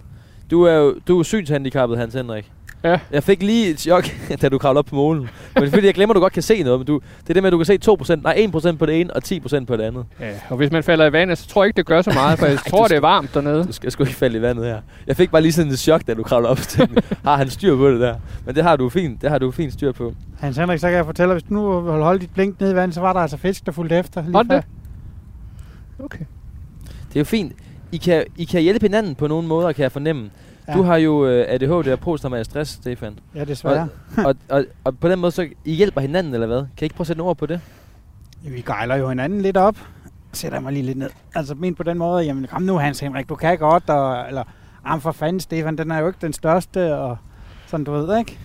Speaker 2: Du er jo du er synshandicappet, Hans Henrik.
Speaker 3: Ja.
Speaker 2: Jeg fik lige et chok, [LAUGHS] da du kravlede op på molen. Men det er fordi, jeg glemmer, at du godt kan se noget. Men du, det er det med, at du kan se 2%, nej, 1% på det ene og 10% på det andet.
Speaker 3: Ja, og hvis man falder i vandet, så tror jeg ikke, det gør så
Speaker 2: [LAUGHS]
Speaker 3: meget, for jeg
Speaker 2: Nej,
Speaker 3: tror,
Speaker 2: du
Speaker 3: det er varmt dernede.
Speaker 2: Du skal, jeg skulle ikke falde i vandet her. Jeg fik bare lige sådan et chok, da du kravlede op. [LAUGHS] Tænkte, har han styr på det der? Men det har du fint, det har du fint styr på.
Speaker 4: Hans Henrik, så kan jeg fortælle, at hvis du nu holdt holdt dit blink ned i vandet, så var der altså fisk, der fulgte efter. Lige
Speaker 3: Var det
Speaker 4: før.
Speaker 3: det? Okay.
Speaker 2: Det er jo fint. I kan, I kan hjælpe hinanden på nogle måder, kan jeg fornemme.
Speaker 4: Ja.
Speaker 2: Ja. Du har jo øh, ADHD og posttraumatisk stress, Stefan.
Speaker 4: Ja, desværre.
Speaker 2: og, og, og på den måde, så I hjælper hinanden, eller hvad? Kan I ikke prøve at sætte nogle ord på det?
Speaker 4: Vi gejler jo hinanden lidt op. Sætter jeg mig lige lidt ned. Altså men på den måde, jamen kom nu Hans Henrik, du kan godt, og, eller am for fanden Stefan, den er jo ikke den største, og sådan du ved, ikke?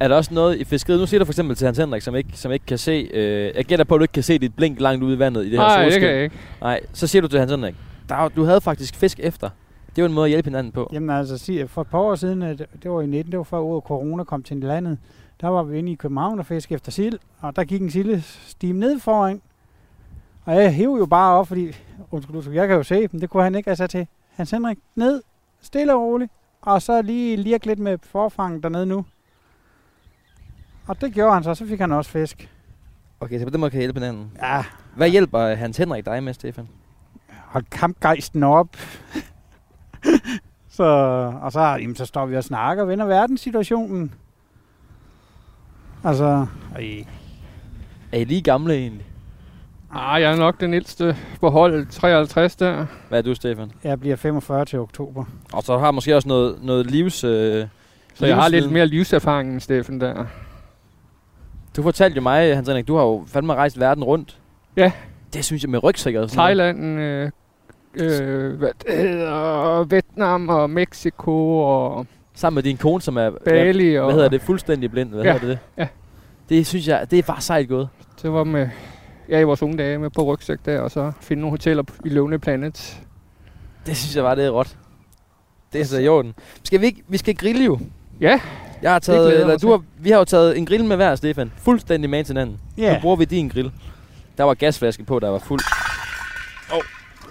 Speaker 2: Er der også noget i fiskeriet? Nu siger du for eksempel til Hans Henrik, som ikke, som ikke kan se... Øh, jeg gætter på, at du ikke kan se dit blink langt ude i vandet i det her
Speaker 3: Nej, det
Speaker 2: solskin.
Speaker 3: kan jeg ikke.
Speaker 2: Nej, så siger du til Hans Henrik, der, er jo- du havde faktisk fisk efter. Det er jo en måde at hjælpe hinanden på.
Speaker 4: Jamen altså, sig- for et par år siden, øh, det var i 19, det var før ordet corona kom til landet, der var vi inde i København og fiskede efter sild, og der gik en sildestime ned foran, og jeg hæv jo bare op, fordi undskyld, undskyld, jeg kan jo se dem, det kunne han ikke, altså til Hans Henrik, ned, stille og roligt, og så lige lirke lidt med forfangen dernede nu. Og det gjorde han så, så fik han også fisk.
Speaker 2: Okay, så på den måde kan I hjælpe hinanden.
Speaker 4: Ja,
Speaker 2: Hvad hjælper øh, Hans Henrik dig med, Stefan?
Speaker 4: hold kampgejsten op. [LAUGHS] så, og så, jamen, så står vi og snakker og vender verdenssituationen. Altså,
Speaker 2: Er I lige gamle egentlig?
Speaker 3: Ah, jeg er nok den ældste på hold 53 der.
Speaker 2: Hvad er du, Stefan?
Speaker 4: jeg bliver 45 til oktober.
Speaker 2: Og så har måske også noget, noget livs... Øh,
Speaker 3: Så jeg har lidt
Speaker 2: livsviden.
Speaker 3: mere livserfaring end Steffen der.
Speaker 2: Du fortalte jo mig, Hans Henrik, du har jo fandme rejst verden rundt.
Speaker 3: Ja.
Speaker 2: Det synes jeg med rygsækker og sådan noget.
Speaker 3: Thailand, øh, øh, hvad det hedder, Vietnam og Mexico og
Speaker 2: Sammen med din kone, som er...
Speaker 3: Bali. Og
Speaker 2: Hvad hedder det? Fuldstændig blind. Hvad
Speaker 3: Ja,
Speaker 2: hedder det?
Speaker 3: ja.
Speaker 2: Det synes jeg, det er bare sejt gået.
Speaker 3: Det var med, ja, i vores unge dage med på rygsæk der, og så finde nogle hoteller i Lonely Planet.
Speaker 2: Det synes jeg bare, det er råt. Det er så i orden. Skal vi, ikke, vi skal grille jo.
Speaker 3: Ja,
Speaker 2: Jeg har
Speaker 3: glæder
Speaker 2: taget,
Speaker 3: jeg
Speaker 2: eller
Speaker 3: mig
Speaker 2: du har, vi har jo taget en grill med hver, Stefan. Fuldstændig med til hinanden.
Speaker 4: Ja,
Speaker 2: Yeah. Nu
Speaker 4: yeah.
Speaker 2: bruger vi din grill. Der var gasflaske på, der var fuld. Oh,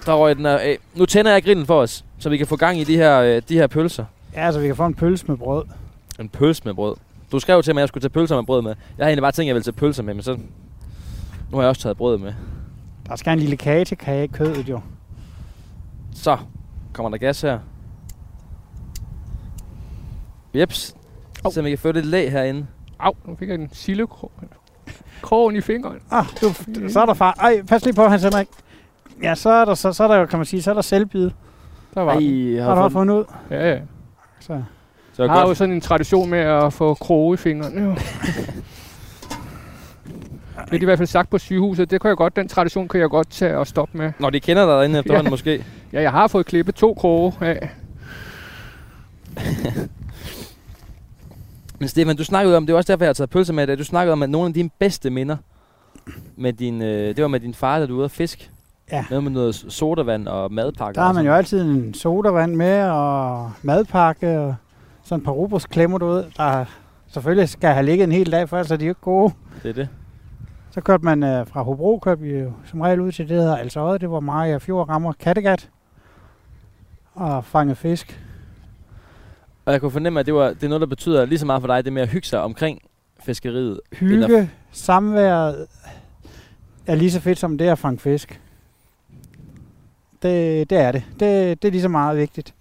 Speaker 2: der røg den af. Nu tænder jeg grillen for os, så vi kan få gang i de her, øh, de her pølser.
Speaker 4: ja så vi kan få en pølse med brød.
Speaker 2: En pølse med brød. Du skrev til mig, at jeg skulle tage pølser med brød med. Jeg havde egentlig bare tænkt, at jeg ville tage pølser med, men så Nu har jeg også taget brød med.
Speaker 4: Der skal en lille kage til kagekødet jo.
Speaker 2: Så kommer der gas her. Jeps.
Speaker 3: Au.
Speaker 2: Så man kan få lidt lag herinde.
Speaker 3: Au, nu fik jeg en sillekrog. Krogen i fingeren.
Speaker 4: Ah, du, så er der far. Ej, pas lige på, Hans Henrik. Ja, så er der, så, så er der jo, kan man sige, så er der selvbid.
Speaker 3: Der var den.
Speaker 2: jeg
Speaker 4: Har du også fundet ud?
Speaker 3: Ja, ja.
Speaker 4: Så.
Speaker 2: Så
Speaker 3: Jeg har jo
Speaker 2: godt.
Speaker 3: sådan en tradition med at få kroge i fingrene. Jo. Det er i hvert fald sagt på sygehuset. Det kan jeg godt, den tradition kan jeg godt tage og stoppe med.
Speaker 2: Nå, de kender dig
Speaker 4: [LAUGHS]
Speaker 2: derinde efterhånden måske.
Speaker 3: Ja, jeg har fået klippet to kroge af.
Speaker 2: Men Stefan, du snakkede om, det er også derfor, jeg har taget pølser med i dag. Du snakkede om, at nogle af dine bedste minder, med din, øh, det var med din far, da du var ude at fisk.
Speaker 4: Ja.
Speaker 2: Noget med noget sodavand og madpakker.
Speaker 4: Der har
Speaker 2: og
Speaker 4: man
Speaker 2: sådan.
Speaker 4: jo altid en sodavand med, og madpakke, og sådan et par rubos klemmer du ud, der selvfølgelig skal have ligget en hel dag, for ellers er de jo ikke gode.
Speaker 2: Det er det.
Speaker 4: Så kørte man øh, fra Hobro, kørte vi jo som regel ud til det, der hedder Alsøjet, det var Maja Fjord rammer Kattegat, og fangede fisk.
Speaker 2: Og jeg kunne fornemme, at det, var, det er noget, der betyder lige så meget for dig, det med at hygge sig omkring fiskeriet.
Speaker 4: Hygge,
Speaker 2: Eller-
Speaker 4: Eller... samværet er lige så fedt som det at fange fisk. Det, det er det. det. Det er lige så meget vigtigt.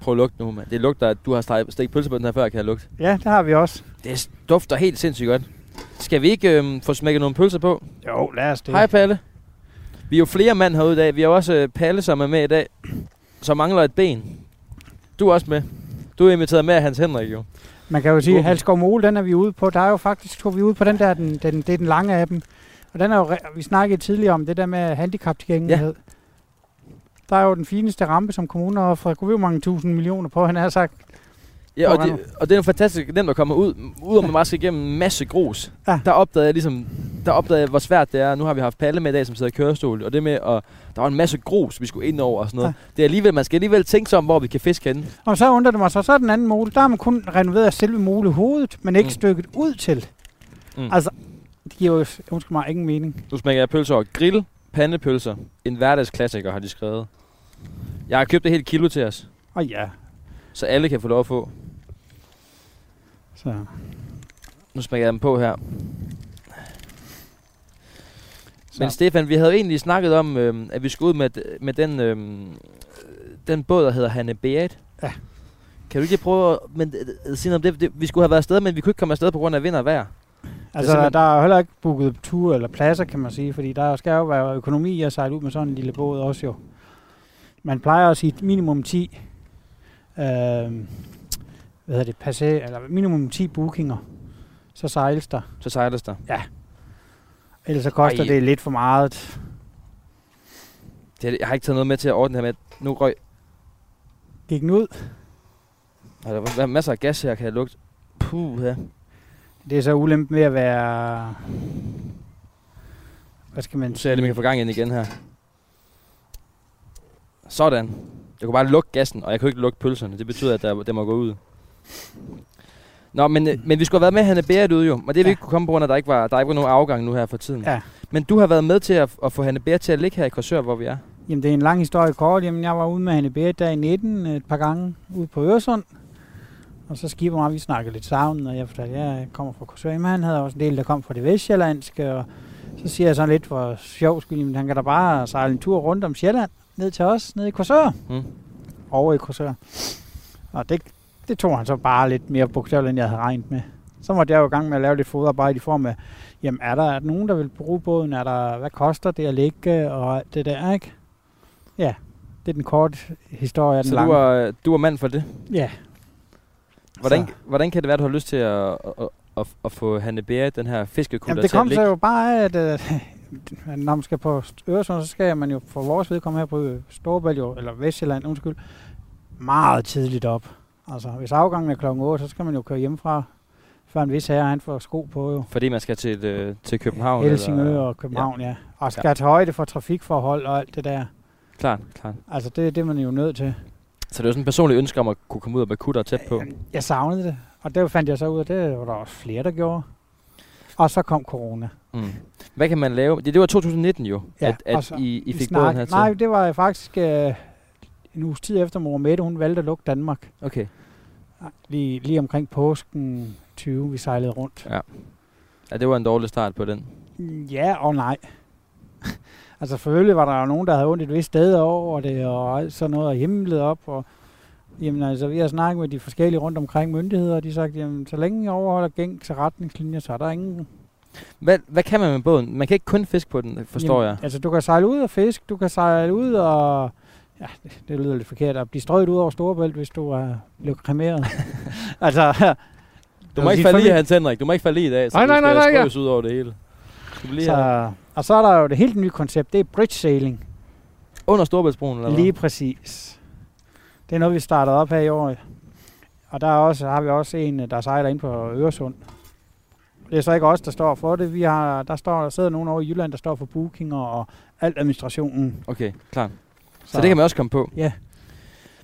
Speaker 2: Prøv at lugte nu, mand. Det lugter, at du har steget, stegt pølse på den her før, kan jeg lugte.
Speaker 4: Ja, det har vi også.
Speaker 2: Det dufter helt sindssygt godt. Skal vi ikke øhm, få smækket nogle pølser på?
Speaker 4: Jo, lad os det.
Speaker 2: Hej Palle. Vi er jo flere mand herude i dag. Vi har jo også øh, Palle, som er med i dag. Så mangler et ben. Du er også med. Du er inviteret med af Hans Henrik, jo.
Speaker 4: Man kan jo sige,
Speaker 2: Åben.
Speaker 4: at Halskov Mole, den er vi ude på. Der er jo faktisk, tog vi ud på den der, den, den, det er den lange af dem. Og den er jo, re- vi snakkede tidligere om det der med handicap tilgængelighed. Ja. Der er jo den fineste rampe, som kommunen har offret. Kunne vi jo mange tusind millioner på, han har sagt.
Speaker 2: Ja, og,
Speaker 4: Hvor er
Speaker 2: det, og det er jo fantastisk nemt at komme ud, udover man bare skal igennem en masse grus.
Speaker 4: Ja.
Speaker 2: Der opdagede jeg ligesom, der opdagede jeg, hvor svært det er. Nu har vi haft Palle med i dag, som sidder i kørestol, og det med, at der var en masse grus, vi skulle ind over og sådan noget. Det er alligevel, man skal alligevel tænke sig om, hvor vi kan fiske henne.
Speaker 4: Og så undrer det mig så, så er den anden mole, der har man kun renoveret selve molehovedet, men ikke
Speaker 2: Mm.
Speaker 4: mm. stykket ud til.
Speaker 2: Mm.
Speaker 4: Mm. Altså, det giver jo, undskyld mig, ingen mening.
Speaker 2: Nu smækker jeg pølser over. Grill, pandepølser. En hverdagsklassiker har de skrevet. Jeg har købt et helt kilo til os,
Speaker 4: Og ja,
Speaker 2: så alle kan få lov at få.
Speaker 4: så.
Speaker 2: Nu smækker jeg dem på her.
Speaker 4: så.
Speaker 2: Men Stefan, vi havde jo egentlig snakket om, øhm, at vi skulle ud med, d- med den, øhm, den båd, der hedder Hanne Beat.
Speaker 4: Ja.
Speaker 2: Kan du ikke lige prøve at men, øh, øh, sige noget om det? det? Vi skulle have været afsted, men vi kunne ikke komme afsted på grund af vind og vejr.
Speaker 4: Altså,
Speaker 2: simpelthen-
Speaker 4: der er jo heller ikke booket ture eller pladser, kan man sige, fordi der skal jo være økonomi i at sejle ud med sådan en lille båd også jo. Man plejer at sige minimum 10, øh, hvad hedder det, passé, eller minimum 10 bookinger, så sejles der.
Speaker 2: Så sejles der.
Speaker 4: Ellers så koster
Speaker 2: Ej.
Speaker 4: Ej. det lidt for meget.
Speaker 2: Det, jeg har ikke taget noget med til at ordne det her med. Nu røg...
Speaker 4: Gik den ud?
Speaker 2: Og altså, der var- var masser af gas her, kan jeg lugte. Puh, ja.
Speaker 4: Det er så ulempen ved at være... Hvad skal man
Speaker 2: Nu ser jeg, at vi kan få gang ind igen her. Sådan. Jeg kunne bare lukke gassen, og jeg kunne ikke lukke pølserne. Det betyder, at der, det må gå ud. Nå, men, øh, men vi skulle have været med Hanne Berit ude jo, og det er vi
Speaker 4: Ja.
Speaker 2: ikke kunne komme på grund af, at der ikke var, der ikke var nogen afgang nu her for tiden.
Speaker 4: Ja.
Speaker 2: Men du har været med til at, at få Hanne Berit til at ligge her i Korsør, hvor vi er.
Speaker 4: Jamen, det er en lang historie kort. Jamen, jeg var ude med Hanne Berit der i 19 et par gange ude på Øresund. Og så skibet mig, vi snakkede lidt sammen, og jeg fortalte, ja, jeg kommer fra Korsør. Men han havde også en del, der kom fra det vestjyllandske, og så siger jeg sådan lidt for sjov skyld, men han kan da bare sejle en tur rundt om Sjælland, ned til os, ned i Korsør,
Speaker 2: Mm.
Speaker 4: over i Korsør. Og det, det tog han så bare lidt mere bogstaveligt, end jeg havde regnet med. Så måtte jeg jo i gang med at lave lidt fodarbejde i form af, jamen er der nogen, der vil bruge båden? Er der, hvad koster det at ligge? Og alt det der, ikke? Ja, det er den korte historie af den
Speaker 2: Så du
Speaker 4: lange.
Speaker 2: var, øh, du var mand for det.
Speaker 4: Ja,
Speaker 2: Hvordan,
Speaker 4: Så.
Speaker 2: hvordan kan det være, at du har lyst til at, at, at, at, at få Hanne Berit, den her fiskekutter,
Speaker 4: jamen, det
Speaker 2: til at
Speaker 4: kom så
Speaker 2: ligge?
Speaker 4: jo bare af, at, øh, [LAUGHS] når man skal på Øresund, så skal man jo for vores vedkommende her på Storebæl, jo, eller Vestjylland, undskyld, meget tidligt op. Altså, hvis afgangen er klokken 8, så skal man jo køre hjemmefra, før en vis herre, han får sko på jo.
Speaker 2: Fordi man skal til, øh, til København?
Speaker 4: Helsingør
Speaker 2: eller-
Speaker 4: og København, ja. ja. Og skal ja. tage højde for trafikforhold og alt det der.
Speaker 2: Klart, klart.
Speaker 4: Altså, det, det er man jo nødt til.
Speaker 2: Så det er jo sådan en personlig ønske om at kunne komme ud og være kutter tæt på.
Speaker 4: Jeg savnede det, og det fandt jeg så ud af, det var der også flere, der gjorde. Og så kom corona.
Speaker 2: Mm. Hvad kan man lave? Det, det var 2019 jo,
Speaker 4: Ja,
Speaker 2: at, at
Speaker 4: og så-
Speaker 2: I, I
Speaker 4: Vi
Speaker 2: fik
Speaker 4: snak-
Speaker 2: båden her til.
Speaker 4: Nej, det var faktisk øh, en uges tid efter, mor Mette, hun valgte at lukke Danmark.
Speaker 2: Okay.
Speaker 4: Lige, lige omkring påsken 20, vi sejlede rundt.
Speaker 2: Ja, det var en dårlig start på den.
Speaker 4: Ja og nej. [LAUGHS] altså selvfølgelig var der jo nogen, der havde ondt et vist sted over det, og alt sådan noget, og himlet op, og Jamen altså, vi har snakket med de forskellige rundt omkring myndigheder, og de har sagt, jamen så længe I overholder gængse retningslinjer, så er der ingen...
Speaker 2: Hvad, hvad kan man med båden? Man kan ikke kun fiske på den, forstår
Speaker 4: jamen,
Speaker 2: jeg.
Speaker 4: Altså, du kan sejle ud og fisk, du kan sejle ud og... Ja, det, det lyder lidt forkert, at blive strøget ud over Storebælt, hvis du er
Speaker 2: [LAUGHS]
Speaker 4: blevet kremeret. altså,
Speaker 2: Du
Speaker 4: jeg
Speaker 2: må
Speaker 4: vil
Speaker 2: ikke
Speaker 4: sige,
Speaker 2: falde i,
Speaker 4: familie-
Speaker 2: Hans Henrik. Du må ikke falde i i dag, så
Speaker 3: Nej,
Speaker 2: du
Speaker 3: nej,
Speaker 2: skal
Speaker 3: nej, nej, ja.
Speaker 2: strøs ud over det hele. Skal du lige så... have...
Speaker 4: så, og så er der jo det helt nye koncept, det er bridge sailing.
Speaker 2: Under Storbæltsbroen, eller
Speaker 4: Lige
Speaker 2: hvad?
Speaker 4: præcis. Det er noget, vi startede op her i år. Og der er også, har vi også en, der sejler ind på Øresund. Det er så ikke os, der står for det. Vi har, der, står, der sidder nogen over i Jylland, der står for bookinger og alt administrationen.
Speaker 2: Okay, klar. Så, så det kan man også komme på.
Speaker 4: Ja.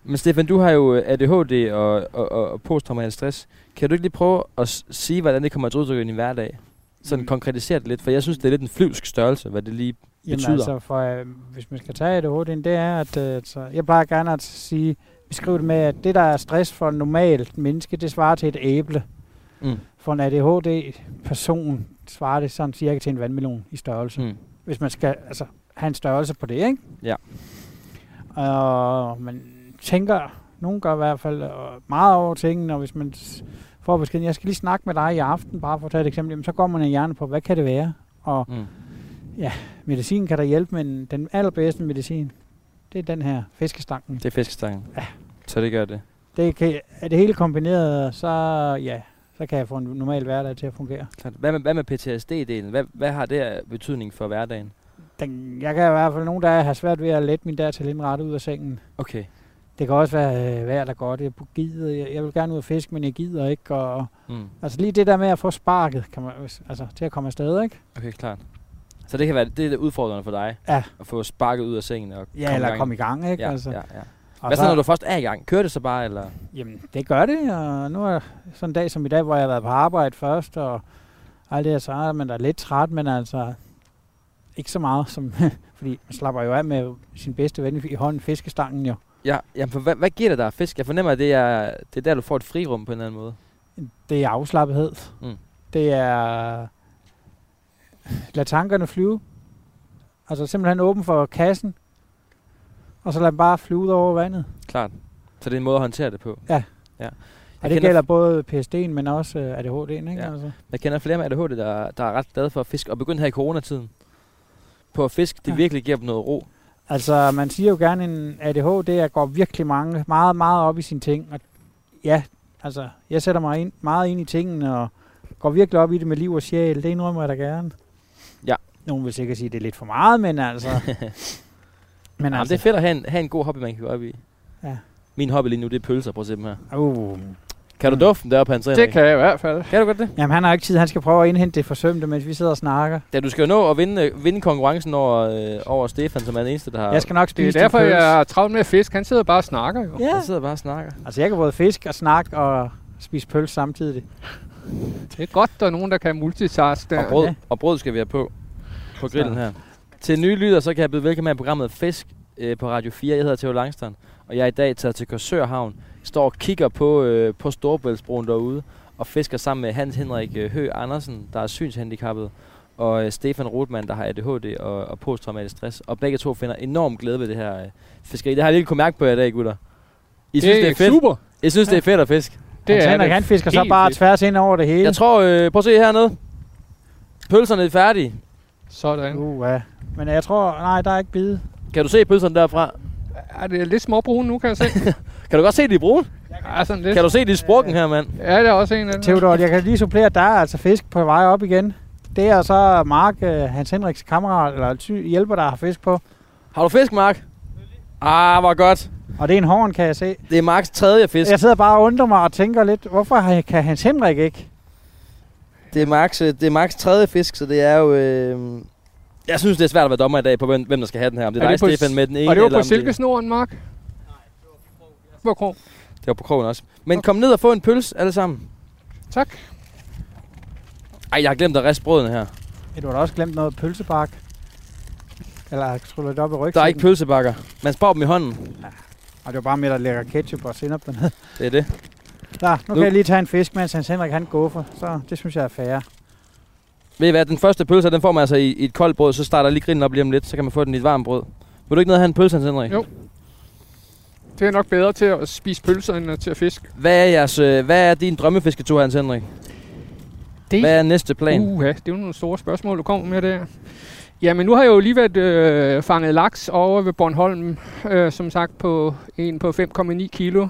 Speaker 2: Men Stefan, du har jo øh, ADHD og, og, og, og posttraumatisk stress. Kan du ikke lige prøve at s- sige, hvordan det kommer til udtryk i din hverdag? Sådan mm.
Speaker 3: Mm.
Speaker 2: konkretisere det lidt, for jeg synes, det er lidt en flyvsk størrelse, hvad det lige... betyder.
Speaker 4: Jamen, altså, for, øh, hvis man skal tage det hurtigt, det er, at øh, så jeg plejer gerne at sige, beskrive det med, at det, der er stress for en normalt menneske, det svarer til et æble.
Speaker 2: Mm.
Speaker 4: For en ADHD-person svarer det sådan cirka til en vandmelon i størrelse.
Speaker 2: Mm.
Speaker 4: hvis man skal altså, have en størrelse på det, ikke?
Speaker 2: Ja.
Speaker 4: Og man tænker, nogen gør i hvert fald øh, meget over tingene, og hvis man s- får beskeden, jeg skal lige snakke med dig i aften, bare for at tage et eksempel, jamen, så går man i hjernen på, hvad kan det være? Og
Speaker 2: Mm.
Speaker 4: medicin kan der hjælpe, men den allerbedste medicin, det er den her fiskestangen.
Speaker 2: Det er fiskestangen. Ja. Så det gør det.
Speaker 4: Det kan, er det hele kombineret, så ja, så kan jeg få en normal hverdag til at fungere.
Speaker 2: Klart. Hvad med, hvad med PTSD-delen? Hvad, hvad har det af betydning for hverdagen?
Speaker 4: Den, jeg kan i hvert fald nogen, der har svært ved at lette min der til indrette ud af sengen.
Speaker 2: Okay.
Speaker 4: Det kan også være øh, vejr, der godt. Jeg gider, jeg, jeg vil gerne ud og fiske, men jeg gider ikke. Og,
Speaker 2: Mm.
Speaker 4: altså lige det der med at få sparket, kan man, altså, til at komme afsted, ikke?
Speaker 2: Okay, klart. Så det kan være det er det udfordrende for dig?
Speaker 4: Ja.
Speaker 2: At få sparket ud af sengen og
Speaker 4: Ja, eller komme i gang, ikke?
Speaker 2: Ja,
Speaker 4: altså.
Speaker 2: ja, ja.
Speaker 4: Og
Speaker 2: Hvad så,
Speaker 4: så-
Speaker 2: når du først er i gang? Kører det så bare, eller?
Speaker 4: Jamen, det gør det, og nu er sådan en dag som i dag, hvor jeg har været på arbejde først, og alt det her, så er man da lidt træt, men altså ikke så meget, som, [LAUGHS] fordi man slapper jo af med sin bedste ven i hånden, fiskestangen jo.
Speaker 2: Ja, jamen, for hvad, hvad giver det dig af fisk? Jeg fornemmer, at det er, det er der, du får et frirum på en eller anden måde.
Speaker 4: Det er afslappethed.
Speaker 2: Mm.
Speaker 4: Det er... Lad tankerne flyve. Altså simpelthen åben for kassen. Og så lad dem bare flyve ud over vandet.
Speaker 2: Klart. Så det er en måde at håndtere det på.
Speaker 4: Og
Speaker 2: kender-
Speaker 4: det gælder både PSD'en, men også øh, ADHD'en, ikke?
Speaker 2: Ja.
Speaker 4: Altså.
Speaker 2: Jeg kender flere med ADHD, der, der er ret glade for at fiske, og begyndt her i coronatiden på at fiske. Det
Speaker 4: Ja.
Speaker 2: virkelig giver dem noget ro.
Speaker 4: altså, man siger jo gerne, en ADHD er går virkelig mange, meget, meget op i sine ting. Og ja, altså, jeg sætter mig ind, meget ind i tingene, og går virkelig op i det med liv og sjæl. Det indrømmer jeg da gerne.
Speaker 2: Ja.
Speaker 4: Nogen vil sikkert sige, at det er lidt for meget, men altså...
Speaker 3: [LAUGHS]
Speaker 4: men altså.
Speaker 2: Jamen, det er fedt at have en, have en god hobby, man kan gå op i.
Speaker 4: Ja.
Speaker 2: Min hobby lige nu, det er pølser. Prøv at se dem her.
Speaker 4: Uh.
Speaker 2: Kan du
Speaker 4: Mm.
Speaker 2: dufte den deroppe, Hans Henrik?
Speaker 3: Det kan jeg i hvert fald.
Speaker 2: Kan du godt det?
Speaker 4: Jamen, han har ikke tid. Han skal prøve at indhente det forsømte, mens vi sidder og snakker.
Speaker 2: Ja, du skal jo nå at vinde, øh, vinde konkurrencen over, øh, over Stefan, som er den eneste, der har...
Speaker 4: Jeg skal nok
Speaker 3: Det
Speaker 4: spise
Speaker 3: er derfor,
Speaker 4: din pølse.
Speaker 3: jeg er travlt med at fiske. Han sidder bare og snakker jo.
Speaker 2: Jeg
Speaker 4: Ja.
Speaker 2: sidder bare og snakker.
Speaker 4: Altså, jeg kan både fiske og snakke og spise pølse samtidig.
Speaker 3: Det er godt, der er nogen, der kan multitaske
Speaker 2: Og
Speaker 3: der.
Speaker 2: brød,
Speaker 4: Ja.
Speaker 2: og brød skal vi have på på grillen her. Til nye lytter, så kan jeg byde velkommen her i programmet Fisk øh, på Radio 4. Jeg hedder Theo Langstrand, og jeg er i dag taget til Korsørhavn. Står og kigger på, øh, på Storbæltsbroen derude, og fisker sammen med Hans Henrik øh, Hø Andersen, der er synshandicappet, og øh, Stefan Rotmann, der har ADHD og, og posttraumatisk stress. Og begge to finder enorm glæde ved det her øh, fiskeri. Det har jeg lige kunne mærke på jer i dag, gutter. I synes, det, det er fedt.
Speaker 3: super.
Speaker 2: I synes, det er fedt at fiske.
Speaker 3: Det
Speaker 4: Hans Altså,
Speaker 3: er
Speaker 4: Henrik,
Speaker 3: det.
Speaker 4: han fisker så
Speaker 3: Helt
Speaker 4: bare
Speaker 3: fedt.
Speaker 4: tværs ind over det hele.
Speaker 2: Jeg tror, øh, prøv at se hernede. Pølserne er færdige.
Speaker 3: Sådan.
Speaker 4: Uh, ja. Men jeg tror, nej, der er ikke bide.
Speaker 2: Kan du se pølserne derfra?
Speaker 3: Er det er lidt småbrun
Speaker 4: [LAUGHS]
Speaker 3: nu, kan jeg se?
Speaker 2: Kan du godt se, de er brune?
Speaker 3: Ja, sådan lidt.
Speaker 2: Kan du se, de er sprukken her, mand?
Speaker 3: Ja, der er også en af dem.
Speaker 4: Theodor, jeg kan lige supplere, at der er altså fisk på vej op igen. Det er så Mark, øh, Hans Henriks kammerat, eller ty- hjælper, der har fisk på.
Speaker 2: Har du fisk, Mark? Ah, hvor godt.
Speaker 4: Og det er en horn, kan jeg se.
Speaker 2: Det er Marks tredje fisk.
Speaker 4: Jeg sidder bare og undrer mig og tænker lidt, hvorfor har- kan Hans Henrik ikke?
Speaker 2: Det er Marks, øh, det er Marks tredje fisk, så det er jo... Øh... Jeg synes, det er svært at være dommer i dag på, hvem, hvem der skal have den her. Om det er,
Speaker 3: Er
Speaker 2: er dig,
Speaker 3: det på s-
Speaker 2: Stefan, med den ene,
Speaker 3: Og det var
Speaker 2: eller
Speaker 3: på
Speaker 2: om
Speaker 3: silkesnoren, Mark? Nej, det var på krog.
Speaker 2: det, det var på krogen også. Men kom ned og få en pølse, alle sammen.
Speaker 3: Tak.
Speaker 2: Ej, jeg har glemt at riste brødene her.
Speaker 4: Ja, Du har da også glemt noget pølsebakke. Eller har tryllet det op i rygsækken.
Speaker 2: Der er ikke pølsebakker. Man sparer dem i hånden.
Speaker 4: Og det var bare med, der lægger ketchup og sennep dernede.
Speaker 2: Det er det.
Speaker 4: Klar,
Speaker 2: Nu.
Speaker 4: nu, nu kan jeg lige tage en fisk, mens Hans Henrik han guffer. Så det synes jeg er fair.
Speaker 2: Ved I hvad, den første pølse, den får man altså i, i et koldt brød, så starter lige grillen op lige om lidt, så kan man få den i et varmt brød. Vil du ikke ned og have en pølse, Hans Henrik?
Speaker 3: Jo. Det er nok bedre til at spise pølser, end øh, til at fiske.
Speaker 2: Hvad er, jeres, øh, hvad er din drømmefisketur, Hans Henrik?
Speaker 3: Det
Speaker 2: Hvad er næste plan? Uh.
Speaker 3: Uha, det er jo nogle store spørgsmål, du kommer med der. Jamen, nu har jeg jo lige været øh, fanget laks over ved Bornholm, øh, som sagt på en på 5,9 kilo.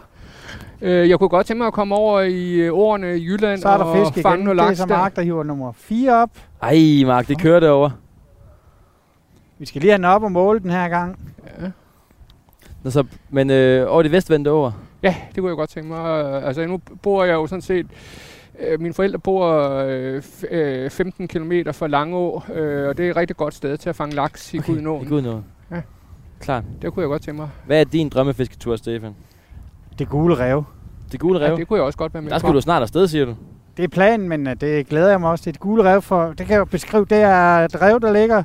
Speaker 3: Øh, jeg kunne godt tænke mig at komme over i øh, årene i Jylland
Speaker 4: Så er der
Speaker 3: og
Speaker 4: fisk
Speaker 3: fange
Speaker 4: igen.
Speaker 3: noget
Speaker 4: Det er
Speaker 3: laks
Speaker 4: så
Speaker 3: der.
Speaker 4: Mark, der hiver nummer 4 op.
Speaker 2: Ej, Mark, det kører derovre.
Speaker 4: Vi skal lige have den op og måle den her gang.
Speaker 3: Ja.
Speaker 2: Nå, så, men øh, over det vestvendte over.
Speaker 3: Ja, det kunne jeg godt tænke mig. Øh, Altså, nu bor jeg jo sådan set... Øh, mine forældre bor øh, f- øh, 15 km fra Langå, øh, og det er et rigtig godt sted til at fange laks i okay.
Speaker 2: I
Speaker 3: Gudenåen.
Speaker 2: Gudenåen.
Speaker 3: Ja.
Speaker 2: Klart.
Speaker 3: Det kunne jeg godt tænke mig.
Speaker 2: Hvad er din drømmefisketur, Stefan?
Speaker 4: Det gule rev.
Speaker 2: Det gule rev?
Speaker 3: Ja,
Speaker 2: Ja, det
Speaker 3: det kunne jeg også godt være med
Speaker 2: der
Speaker 3: på.
Speaker 2: skulle du snart afsted, siger du.
Speaker 4: Det er planen, men øh, det glæder jeg mig også til. Det gule rev, for det kan jeg jo beskrive, det er et rev, der ligger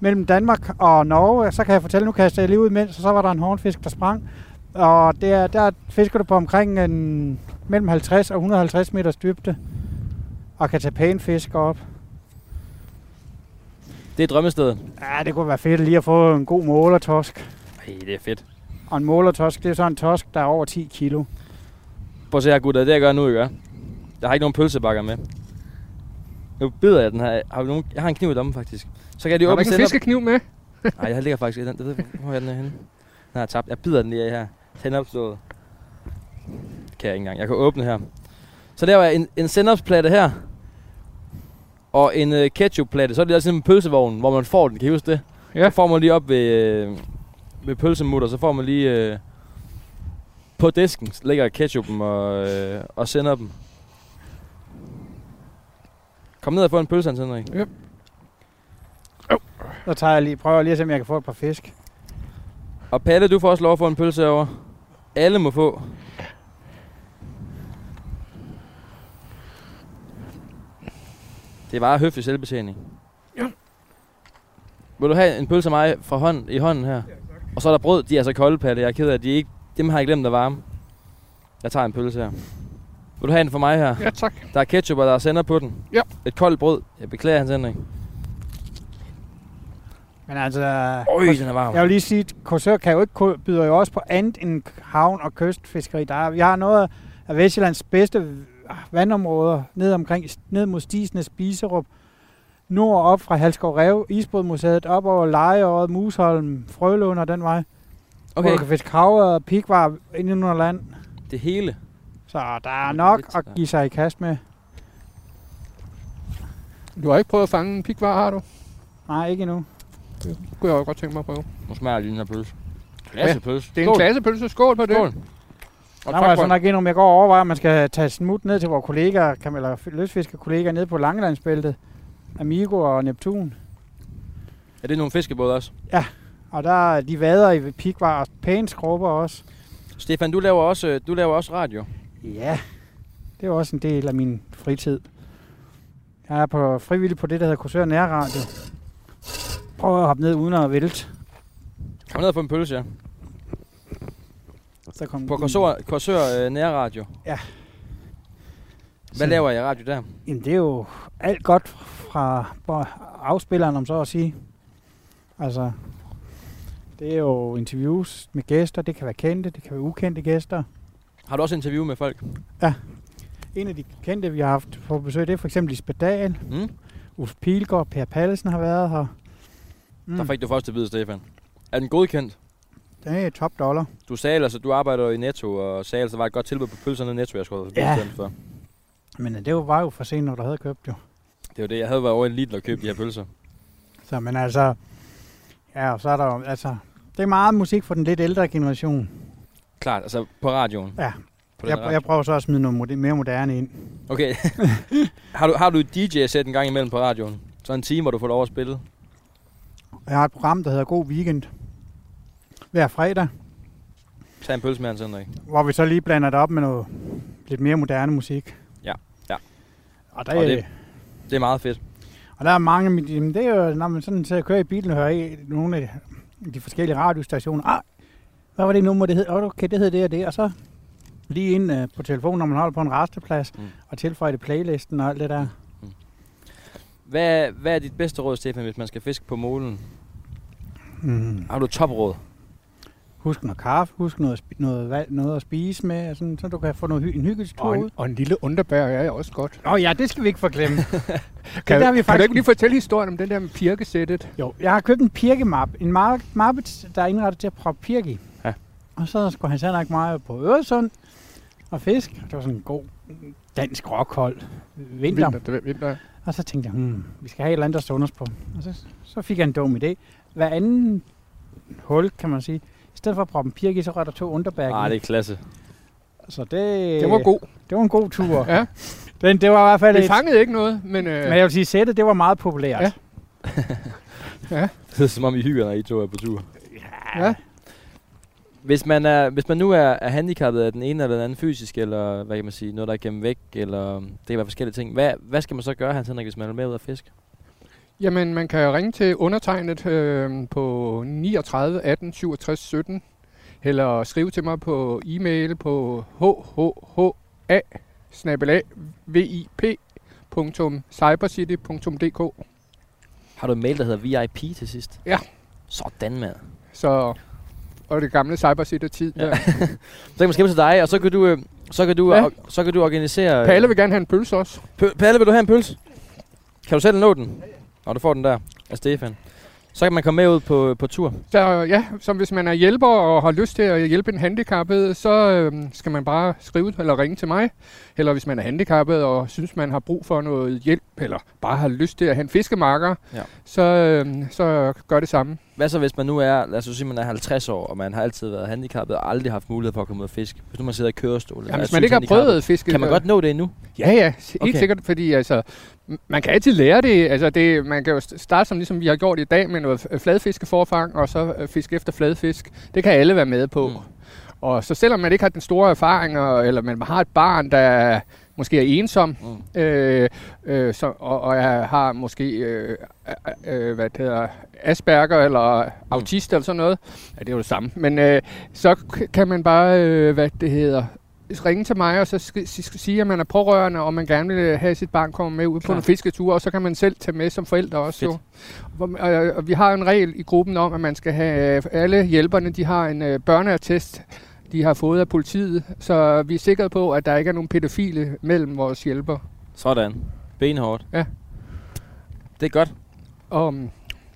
Speaker 4: mellem Danmark og Norge. Så kan jeg fortælle, nu kaster jeg lige ud imens, og så var der en hornfisk, der sprang. Og det er, der fisker du på omkring en, mellem 50 og 150 meters dybde, og kan tage pæne fisk op.
Speaker 2: Det er drømmestedet.
Speaker 4: Ja, det kunne være fedt lige at få en god målertosk.
Speaker 2: Ej, det er fedt.
Speaker 4: Og en målertosk, det er sådan en tosk, der er over 10 kilo.
Speaker 2: Prøv at se her, gutter. Det jeg gør nu, jeg gør. Jeg har ikke nogen pølsebakker med. Nu bider jeg den her. Har vi nogen? Jeg har en kniv i lommen, faktisk. Så kan jeg lige
Speaker 3: Har du
Speaker 2: åbne
Speaker 3: ikke en
Speaker 2: selv
Speaker 3: fiskekniv med?
Speaker 2: op. Nej, jeg ligger faktisk i den. Jeg ved, ikke, hvor er den er henne? Den har jeg tabt. Jeg bider den lige af her. Sendopslået. Det kan jeg ikke engang. Jeg kan åbne her. Så laver jeg en, en sendopsplatte her. Og en øh, ketchupplatte. Så er det altså en pølsevogn, hvor man får den. Kan I huske det?
Speaker 3: Ja.
Speaker 2: Så får man lige op ved, øh, ved pølsemutter, så får man lige øh, på disken, så lægger jeg ketchupen og, øh, og sender dem. Kom ned og få en pølse, Hans Henrik.
Speaker 4: Så tager jeg lige, prøver lige at se, om jeg kan få et par fisk.
Speaker 2: Og Palle, du får også lov at få en pølse over. Alle må få. Det er bare høflig selvbetjening. Vil du have en pølse af mig fra hånd, i hånden her? Og så er der brød, de er så kolde, Palle. Jeg er ked af, at de ikke... Dem har jeg glemt at varme. Jeg tager en pølse her. Vil du have en for mig her?
Speaker 3: Ja, tak.
Speaker 2: Der er ketchup, og der er sender på den.
Speaker 3: Ja.
Speaker 2: Et koldt brød. Jeg beklager hans ændring.
Speaker 4: Men altså,
Speaker 2: Øj, den er varm.
Speaker 4: jeg vil lige sige, at Korsør kan jo ikke, ku- byder jo også på andet end havn- og kystfiskeri. Der er, vi har noget af Vestjyllands bedste vandområder ned, omkring, ned mod Stisnes, Biserup, nord op fra Halskov Rev, Isbodmuseet, op over Lejeåret, Musholm, Frølund og den vej. Okay. Hvor
Speaker 2: Okay,
Speaker 4: du kan fiske havre og pikvar ind under land.
Speaker 2: det hele.
Speaker 4: Så der er nok
Speaker 2: Lidt,
Speaker 4: at
Speaker 2: ja.
Speaker 4: give sig i kast med.
Speaker 3: Du har ikke prøvet at fange en pikvar, har du?
Speaker 4: Nej, ikke endnu.
Speaker 3: Det kunne jeg jo godt tænke mig at prøve.
Speaker 2: Nu smager jeg lige den her pølse.
Speaker 3: Klasse
Speaker 2: pølse.
Speaker 3: Det er en klassepølse. Skål på det.
Speaker 2: Skål.
Speaker 3: Og
Speaker 4: Der altså
Speaker 3: tak
Speaker 4: må jeg
Speaker 3: for
Speaker 4: så
Speaker 3: det.
Speaker 4: nok indrømme, jeg går og overvejer, om man skal tage smut ned til vores kollegaer, kan, eller f- lystfiskerkollegaer nede på Langelandsbæltet, Amigo og Neptun.
Speaker 2: Er det nogle fiskebåde også?
Speaker 4: Og der er de vader i pikvar og pæne skrubber også.
Speaker 2: Stefan, du laver også, øh, du laver også radio.
Speaker 4: Ja, det er jo også en del af min fritid. Jeg er på frivillig på det, der hedder Korsør Nærradio. Prøver at hoppe ned uden at vælte.
Speaker 2: Kom ned og få en pølse, ja.
Speaker 4: Så kom
Speaker 2: På Korsør, Korsør øh, Nærradio.
Speaker 4: Ja.
Speaker 2: Hvad laver jeg i radio der?
Speaker 4: Jamen, det er jo alt godt fra bo- afspilleren, om så at sige. Altså, det er jo interviews med gæster. Det kan være kendte, det kan være ukendte gæster.
Speaker 2: Har du også interview med folk?
Speaker 4: En af de kendte, vi har haft på besøg, det er for eksempel Lisbeth Dahl,
Speaker 2: Mm?
Speaker 4: Ulf Pilgaard, Per Pallesen har været her. Mm,
Speaker 2: Der fik du først at vide, Stefan. Er den godkendt?
Speaker 4: det er top dollar.
Speaker 2: Du sagde altså, du arbejder jo i Netto, og sagde altså, der var et godt tilbud på pølserne i Netto, jeg skulle have
Speaker 4: Ja.
Speaker 2: bestemt for.
Speaker 4: Men øh, det var jo for sent, når der havde købt jo.
Speaker 2: Det var det, jeg havde været over i Lidl og købt de her pølser.
Speaker 4: Så men altså, ja, og så er der jo, altså, det er meget musik for den lidt ældre generation.
Speaker 2: Klart, altså på radioen.
Speaker 4: Ja.
Speaker 2: På den
Speaker 4: Jeg,
Speaker 2: radio.
Speaker 4: jeg prøver så at smide noget moder- mere moderne ind.
Speaker 2: Okay. [LAUGHS] har, du, har du et DJ-sæt en gang imellem på radioen? Så en time, hvor du får lov at spille?
Speaker 4: Jeg har et program, der hedder God Weekend. Hver fredag,
Speaker 2: Tag en pølse med, Hans Henrik.
Speaker 4: hvor vi så lige blander det op med noget lidt mere moderne musik.
Speaker 2: Ja, ja.
Speaker 4: Og der,
Speaker 2: Og
Speaker 4: og,
Speaker 2: det- Det er meget fedt.
Speaker 4: og der er mange, men jamen, det er jo, når man sådan sidder og kører i bilen og hører i nogle af de forskellige radiostationer. Ah, hvad var det nummer, det hed? Oh, okay, det hed det og det. Og så lige ind øh, på telefonen, når man holder på en resteplads,
Speaker 2: Mm.
Speaker 4: mm. og tilføjer det playlisten og alt det der.
Speaker 2: Hvad, hvad er dit bedste råd, Stefan, hvis man skal fiske på målen?
Speaker 4: Mm.
Speaker 2: Har du et topråd?
Speaker 4: Husk noget kaffe, husk noget, spi- noget, valg, noget at spise med, og sådan, så du kan få noget hy- en hyggestur
Speaker 3: Og
Speaker 4: ud.
Speaker 3: en, og en lille underbær er også godt. Kan,
Speaker 4: Nå ja, [LAUGHS] det skal vi ikke forglemme.
Speaker 3: kan,
Speaker 4: der har vi
Speaker 3: kan du
Speaker 4: faktisk-
Speaker 3: ikke lige fortælle historien om den der med pirkesættet?
Speaker 4: jo, jeg har købt en pirkemap. En mar- mappe, t- der er indrettet til at proppe pirke i.
Speaker 2: Ja.
Speaker 4: Og så skulle han Henrik meget på Øresund og fisk. Det var sådan en god dansk rockhold. Vinter.
Speaker 3: Vinter, det er vinter.
Speaker 4: Og så tænkte jeg, hmm, vi skal have et eller andet, der står os på. Og så, så fik jeg en dum idé. Hver anden hul, kan man sige, i stedet for at proppe en pirke i, så rører der to underbær
Speaker 2: Nej, Ah, det er klasse. [LAUGHS]
Speaker 4: Så det,
Speaker 3: Den var god.
Speaker 4: det var en god tur.
Speaker 3: Ja.
Speaker 4: Den, det var i hvert fald
Speaker 3: Vi
Speaker 4: et,
Speaker 3: fangede ikke noget, men... Øh,
Speaker 4: Men jeg vil sige, sættet, det var meget populært.
Speaker 3: Ja.
Speaker 2: Det er som om I hygger, når I to er på tur.
Speaker 3: ja.
Speaker 2: Hvis man, er, hvis man nu er, er handicappet af den ene eller den anden fysisk, eller hvad kan man sige, noget, der er gennem væk, eller det kan være forskellige ting. Hvad, hvad skal man så gøre, Hans Henrik, hvis man er med ud at fiske?
Speaker 3: Jamen, man kan ringe til undertegnet øh, på 39 18 67 17, eller skrive til mig på e-mail på hhha cybercity.dk.
Speaker 2: Har du en mail, der hedder VIP til sidst?
Speaker 3: Ja.
Speaker 2: Sådan, mand.
Speaker 3: Så, og det gamle Cybercity-tid.
Speaker 2: Ja.
Speaker 3: Ja.
Speaker 2: Så kan man skrive til dig, og så kan du, øh, så kan du,
Speaker 3: Ja.
Speaker 2: ja. så kan du organisere... øh,
Speaker 3: Palle vil gerne have en pølse også.
Speaker 2: P- Palle, vil du have en pølse? Kan du selv nå den? Nå, du får den der af Stefan. Så kan man komme med ud på, på tur.
Speaker 3: Så ja, som hvis man er hjælper og har lyst til at hjælpe en handicappet, så øhm, skal man bare skrive eller ringe til mig. Eller hvis man er handicappet og synes, man har brug for noget hjælp, eller bare har lyst til at have en fiskemarker,
Speaker 2: Ja.
Speaker 3: så, øhm, så gør det samme.
Speaker 2: Hvad så, hvis man nu er, lad os nu sige, man er 50 år, og man har altid været handicappet og aldrig haft mulighed for at komme ud og fiske? Hvis nu man sidder i kørestol. eller
Speaker 3: Ja,
Speaker 2: er
Speaker 3: hvis man ikke har
Speaker 2: synshandicappet,
Speaker 3: prøvet at fiske... øh,
Speaker 2: Kan man godt nå det endnu?
Speaker 3: Ja, ja, helt
Speaker 2: Okay.
Speaker 3: okay. sikkert, fordi altså, m- man kan altid lære det. Altså, det. Man kan jo st- starte, som ligesom vi har gjort i dag, med noget f- fladfiskeforfang, og så øh, fiske efter fladfisk. Det kan alle være med på.
Speaker 2: Mm.
Speaker 3: Mm. Og så selvom man ikke har den store erfaring, og, eller man har et barn, der måske er ensom,
Speaker 2: Mm.
Speaker 3: øh, øh, så, og, og er, har måske øh, øh, hvad det hedder, Asperger eller autist eller sådan noget, ja, det er jo det samme, men øh, så k- kan man bare, øh, hvad det hedder, ringe til mig og så sk- si- sk- sige, at man er pårørende, og man gerne vil øh, have sit barn komme med ud på
Speaker 2: Klart.
Speaker 3: en fisketur, og så kan man selv tage med som forældre også.
Speaker 2: Fedt.
Speaker 3: Jo. Hvor- Og, og vi har en regel i gruppen om, at man skal have øh, alle hjælperne, de har en øh, børneattest, de har fået af politiet, så vi er sikre på, at der ikke er nogen pædofile mellem vores hjælper.
Speaker 2: Sådan. Benhårdt.
Speaker 3: Ja.
Speaker 2: Det er godt.
Speaker 3: Og, mm,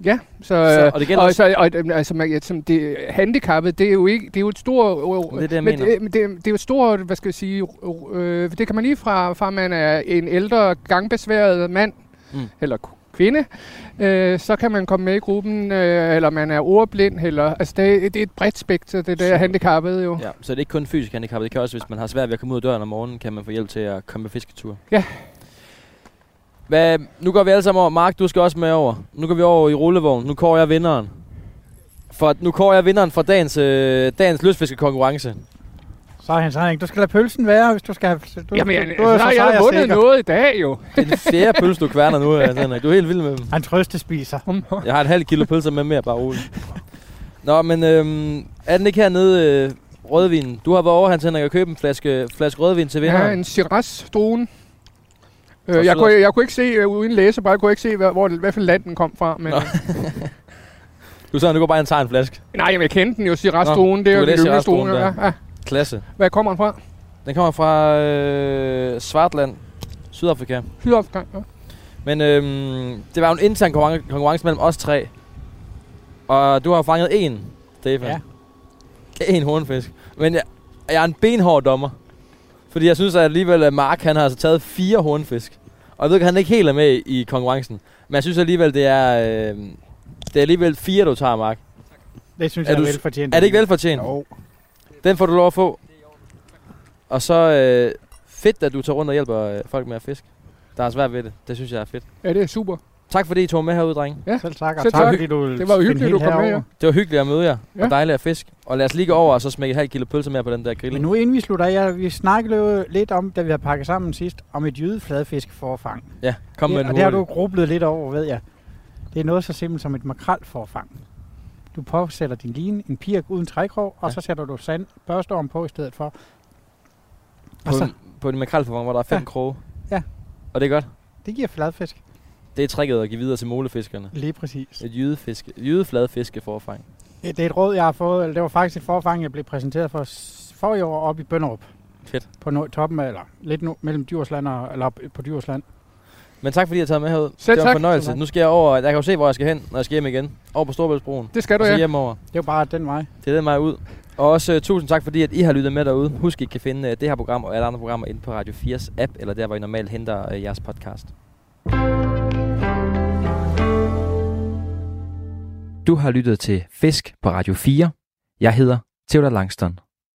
Speaker 3: ja, så,
Speaker 2: Så-
Speaker 3: så,
Speaker 2: og
Speaker 3: og
Speaker 2: det
Speaker 3: det
Speaker 2: gælder
Speaker 3: og,
Speaker 2: også-
Speaker 3: så, og, øhm, altså, man, ja, som det handicappet, det er jo ikke, det er jo et stort,
Speaker 2: det er det, jeg
Speaker 3: men,
Speaker 2: mener.
Speaker 3: øh, men det, det, er jo et stort, hvad skal jeg sige, øh, det kan man lige fra, fra man er en ældre gangbesværet mand,
Speaker 2: Mm.
Speaker 3: mm. eller k- kvinde, øh, så kan man komme med i gruppen, øh, eller man er ordblind, eller, altså det, er- det er et bredt spektrum, det der
Speaker 2: Super.
Speaker 3: handicappede jo.
Speaker 2: Ja, så det er ikke kun fysisk handicap. Det kan også, hvis man har svært ved at komme ud af døren om morgenen, kan man få hjælp til at komme med fisketur.
Speaker 3: Ja.
Speaker 2: Hvad, nu går vi alle sammen over. Mark, du skal også med over. Nu går vi over i rullevognen. Nu kårer jeg vinderen. For, nu kårer jeg vinderen fra dagens, øh, dagens løsfiskekonkurrence.
Speaker 4: Så Hans Henrik, du skal lade pølsen være, hvis du skal have... Du,
Speaker 3: Jamen,
Speaker 4: du,
Speaker 3: jeg,
Speaker 4: du
Speaker 3: så har jeg
Speaker 4: sejrsikker.
Speaker 3: vundet noget i dag jo.
Speaker 2: Det er den
Speaker 3: [LAUGHS]
Speaker 2: fjerde pølse, du kværner nu, Hans Henrik. Du er helt vild med dem.
Speaker 4: Han trøstespiser.
Speaker 3: Mm.
Speaker 2: Jeg har et halvt kilo pølser med mere, bare roligt. Nå, men øhm, er den ikke hernede, øh, rødvinen? Du har været over, Hans Henrik, og købt en flaske, flaske rødvin til
Speaker 3: Ja,
Speaker 2: vinderen.
Speaker 3: en Shiraz-druen.
Speaker 2: Og
Speaker 3: Øh, jeg,
Speaker 2: så-
Speaker 3: kunne, jeg kunne ikke se, øh, uden læsebræt, jeg kunne ikke se, hvor, hvor, hvad for land den kom fra. Men,
Speaker 2: Nå. Du sagde, du går bare og tager en flaske.
Speaker 3: [LAUGHS] nej, jamen, jeg kendte den jo, Shiraz-druen.
Speaker 2: Nå,
Speaker 3: Det er
Speaker 2: du kan
Speaker 3: jo den
Speaker 2: læse Shiraz-druen
Speaker 3: yndlingsdruen. Ja,
Speaker 2: der.
Speaker 3: ja.
Speaker 2: Klasse.
Speaker 3: Hvad kommer den fra?
Speaker 2: Den kommer fra øh, Svartland, Sydafrika.
Speaker 3: Sydafrika. Ja.
Speaker 2: Men øhm, det var jo en intern konkurren- konkurrence mellem os tre. Og du har fanget én, Stefan.
Speaker 4: Ja.
Speaker 2: En hornfisk. Men jeg, jeg er en benhård dommer. Fordi jeg synes at alligevel, at Mark han har altså taget fire hornfisk. Og jeg ved ikke, han ikke helt er med i konkurrencen. Men jeg synes alligevel, det er... Øh, det er alligevel fire, du tager, Mark.
Speaker 4: Det synes
Speaker 2: Er
Speaker 4: er jeg
Speaker 2: du
Speaker 4: er
Speaker 2: s-
Speaker 4: velfortjent.
Speaker 2: Er det ikke velfortjent?
Speaker 4: Jo.
Speaker 2: Den får du lov at få. Og så øh, fedt, at du tager rundt og hjælper øh, folk med at fiske. Der er svært ved det. Det synes jeg er fedt.
Speaker 3: ja, det er super.
Speaker 2: Tak fordi I tog med herud, dreng.
Speaker 4: Selv tak, og tak,
Speaker 3: Selv tak.
Speaker 4: fordi du
Speaker 3: Det var
Speaker 4: spillede
Speaker 3: hyggeligt,
Speaker 4: helt
Speaker 3: du kom med,
Speaker 4: herover.
Speaker 2: Det var hyggeligt at møde jer, ja.
Speaker 3: Ja.
Speaker 2: og dejligt at fiske. Og lad os lige gå over og så smække et halvt kilo pølser mere på den der
Speaker 4: Men
Speaker 2: grill.
Speaker 4: nu inden vi slutter, jeg, vi snakkede jo lidt om, da vi havde pakket sammen sidst, om et jydefladfiskeforfang.
Speaker 2: Ja, kom med
Speaker 4: det,
Speaker 2: en
Speaker 4: og det har du
Speaker 2: hurtig.
Speaker 4: grublet lidt over, ved jeg. Det er noget så simpelt som et makrelforfang. Du påsætter din line, en pirk uden trækrog, og
Speaker 2: Ja.
Speaker 4: så sætter du sand, børstorm på i stedet for. Og
Speaker 2: på,
Speaker 4: så,
Speaker 2: en, på en makrelforvang, hvor der er fem ja.
Speaker 4: Ja.
Speaker 2: kroge.
Speaker 4: Ja.
Speaker 2: Og det er godt.
Speaker 4: det giver fladfisk.
Speaker 2: Det er tricket at give videre til molefiskerne.
Speaker 4: Lige præcis.
Speaker 2: Et jydefiske, jydefladfiskeforfang.
Speaker 4: Det, det er et råd, jeg har fået. Eller det var faktisk et forfang, jeg blev præsenteret for s- for i år oppe i Bønderup.
Speaker 2: Fedt.
Speaker 4: På no- toppen af, eller lidt nu, mellem Djursland og, eller op på Djursland.
Speaker 2: Men tak fordi jeg har taget med herud.
Speaker 3: Selv
Speaker 2: det var en
Speaker 3: tak.
Speaker 2: fornøjelse.
Speaker 4: Selv tak.
Speaker 2: Nu skal jeg over. Jeg kan jo se, hvor jeg skal hen, når jeg skal hjem igen. Over på Storbæltsbroen.
Speaker 3: Det skal du,
Speaker 2: Og så
Speaker 3: ja.
Speaker 2: hjemover.
Speaker 4: Det var bare den vej.
Speaker 2: Det er den mig ud. Og også uh, tusind tak, fordi at I har lyttet med derude. Husk, I kan finde uh, det her program og alle andre programmer inde på Radio 4's app, eller der, hvor I normalt henter uh, jeres podcast. Du har lyttet til Fisk på Radio 4. Jeg hedder Theodor Langston.